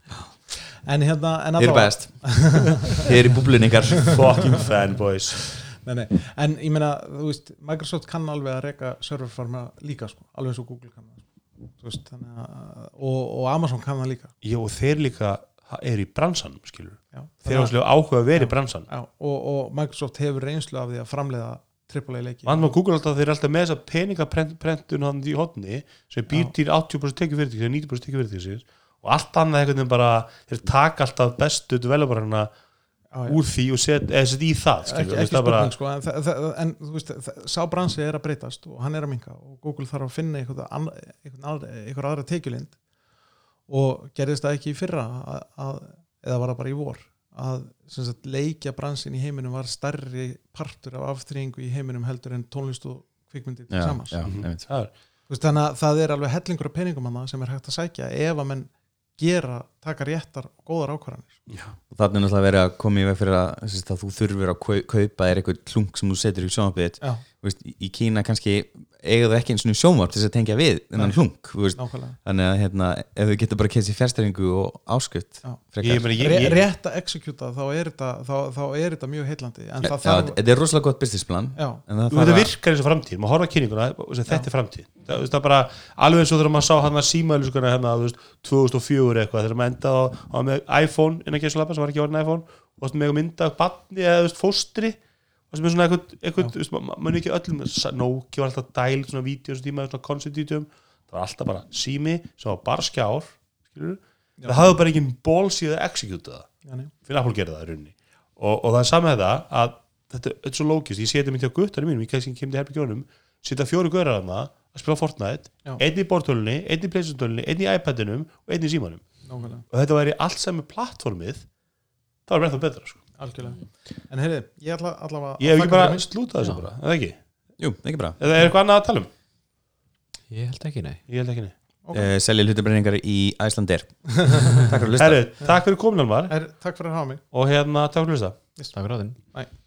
Speaker 5: en hérna en
Speaker 4: þið eru
Speaker 5: allavega-
Speaker 4: best þið eru í búblun ykkar
Speaker 2: fucking fanboys
Speaker 5: nei, nei. en ég meina, þú veist, Microsoft kann alveg að reyka serverfarma líka sko, alveg eins og Google kann það, sko. Þú veist, þannig að, og, og Amazon kann það líka
Speaker 2: ég, og þeir líka ha- eru í bransanum skilur,
Speaker 5: já,
Speaker 2: þeir eru
Speaker 5: þannig að-
Speaker 2: svolítið áhuga að vera í bransanum
Speaker 5: já, og, og Microsoft hefur reynslu af því að framleiða AAA leiki
Speaker 2: Vandum að Google alltaf, þeir eru alltaf með þessa peningaprentun hann í hodni sem býr
Speaker 5: Já.
Speaker 2: til 80% tekið fyrirtækis 90% tekið fyrirtækis og allt annað einhvern veginn bara þeir taka alltaf bestu developerina
Speaker 5: Já, já.
Speaker 2: úr því og set, eða set í það skilur,
Speaker 5: ekki,
Speaker 2: þú veist,
Speaker 5: ekki
Speaker 2: það bara,
Speaker 5: spurning sko, en, það- það- en þú veist, það- sá bransi er að breytast og hann er að minka og Google þarf að finna einhvern ann- einhvern aðra, einhver aðra tekjulind og gerðist það ekki í fyrra að, að, eða var það bara í vor að sem sagt, leikja bransin í heiminum var stærri partur af aftrýingu í heiminum heldur en tónlist og kvikmyndir
Speaker 4: já,
Speaker 5: samans
Speaker 4: já,
Speaker 2: Mhm.
Speaker 4: einmitt.
Speaker 2: það er,
Speaker 5: Þú veist, þannig að það er alveg hellingur af peningum hana sem er hægt að sækja ef að menn gera, taka réttar og góðar ákvarðanir
Speaker 4: og þannig er náttúrulega verið að koma í veg fyrir að, sem sagt, að þú þurfur að kau- kaupa er eitthvað klung sem þú setur í sjónvarpið
Speaker 5: Já,
Speaker 4: Þú veist, í Kína kannski eiga þau ekki eins og sjónvarp til þess að tengja við þennan
Speaker 5: Nei.
Speaker 4: hlung þú veist,
Speaker 5: nákvæmlega
Speaker 4: þannig að hérna, ef þau getur bara keitt sér fjærstæringu og áskut
Speaker 5: Já.
Speaker 2: ég, meni, ég,
Speaker 5: Ré-
Speaker 2: ég,
Speaker 5: rétt að executa þá er þetta, þá, þá er þetta mjög heillandi en það þarf já,
Speaker 4: þetta er rosalega gott businessplan en það
Speaker 2: þú veit það
Speaker 4: þarf að
Speaker 2: virkar eins og framtíð maður horfa að kynninguna og segja þetta er framtíð það, þú veist, það er bara alveg eins og þegar maður sá hann að síma hérna, þú veist, 2004 eitthvað þegar maður endaði á, á með iPhone innan kessulappa sem var ekki orðin iPhone og það með að mynda batni eða þú veist, fóstri og sem er svona eitthvað, eitthvað þú veist, ma- ma- maður er ekki öllum sa- Nokia var alltaf dæl svona vídeo sem tíma svona concept vídeum það var alltaf bara sími sem var bara skjár skilur það hafði bara engin balls í að executa það
Speaker 5: nei.
Speaker 2: fyrir Apple gerði það í rauninni og, og það er samið þetta að þetta þetta er svo lókist, ég sé þetta myndi á guttanum mínum ég kannski kemdi herbygjónum, setja fjóru gaurar að maður að spila Fortnite,
Speaker 5: Já.
Speaker 2: einn í bortölunni einn í pleysundölunni, einn í iPadinum og einn í símanum
Speaker 5: nákvæmlega,
Speaker 2: og þetta væri allt sem er plattformið það var með það betra sko.
Speaker 5: algjörlega en heyrðu, ég ætla allavega að
Speaker 2: ég hef
Speaker 5: þakka
Speaker 2: ekki bara
Speaker 5: fyrir mig.
Speaker 2: slútað þessu bara, eða ekki
Speaker 4: jú, ekki bara
Speaker 2: eða er eitthvað annað að tala um,
Speaker 3: Ég held ekki, nei
Speaker 2: ég held ekki nei
Speaker 5: Ok.
Speaker 4: okay. Eh, selja hlutabreiningar í Æslandir takk fyrir að hlusta
Speaker 2: Herri, takk fyrir komin Almar
Speaker 5: Herri, takk fyrir að hafa mig
Speaker 2: og hérna, takk fyrir að hlusta
Speaker 3: Takk fyrir á þinn
Speaker 5: Bye.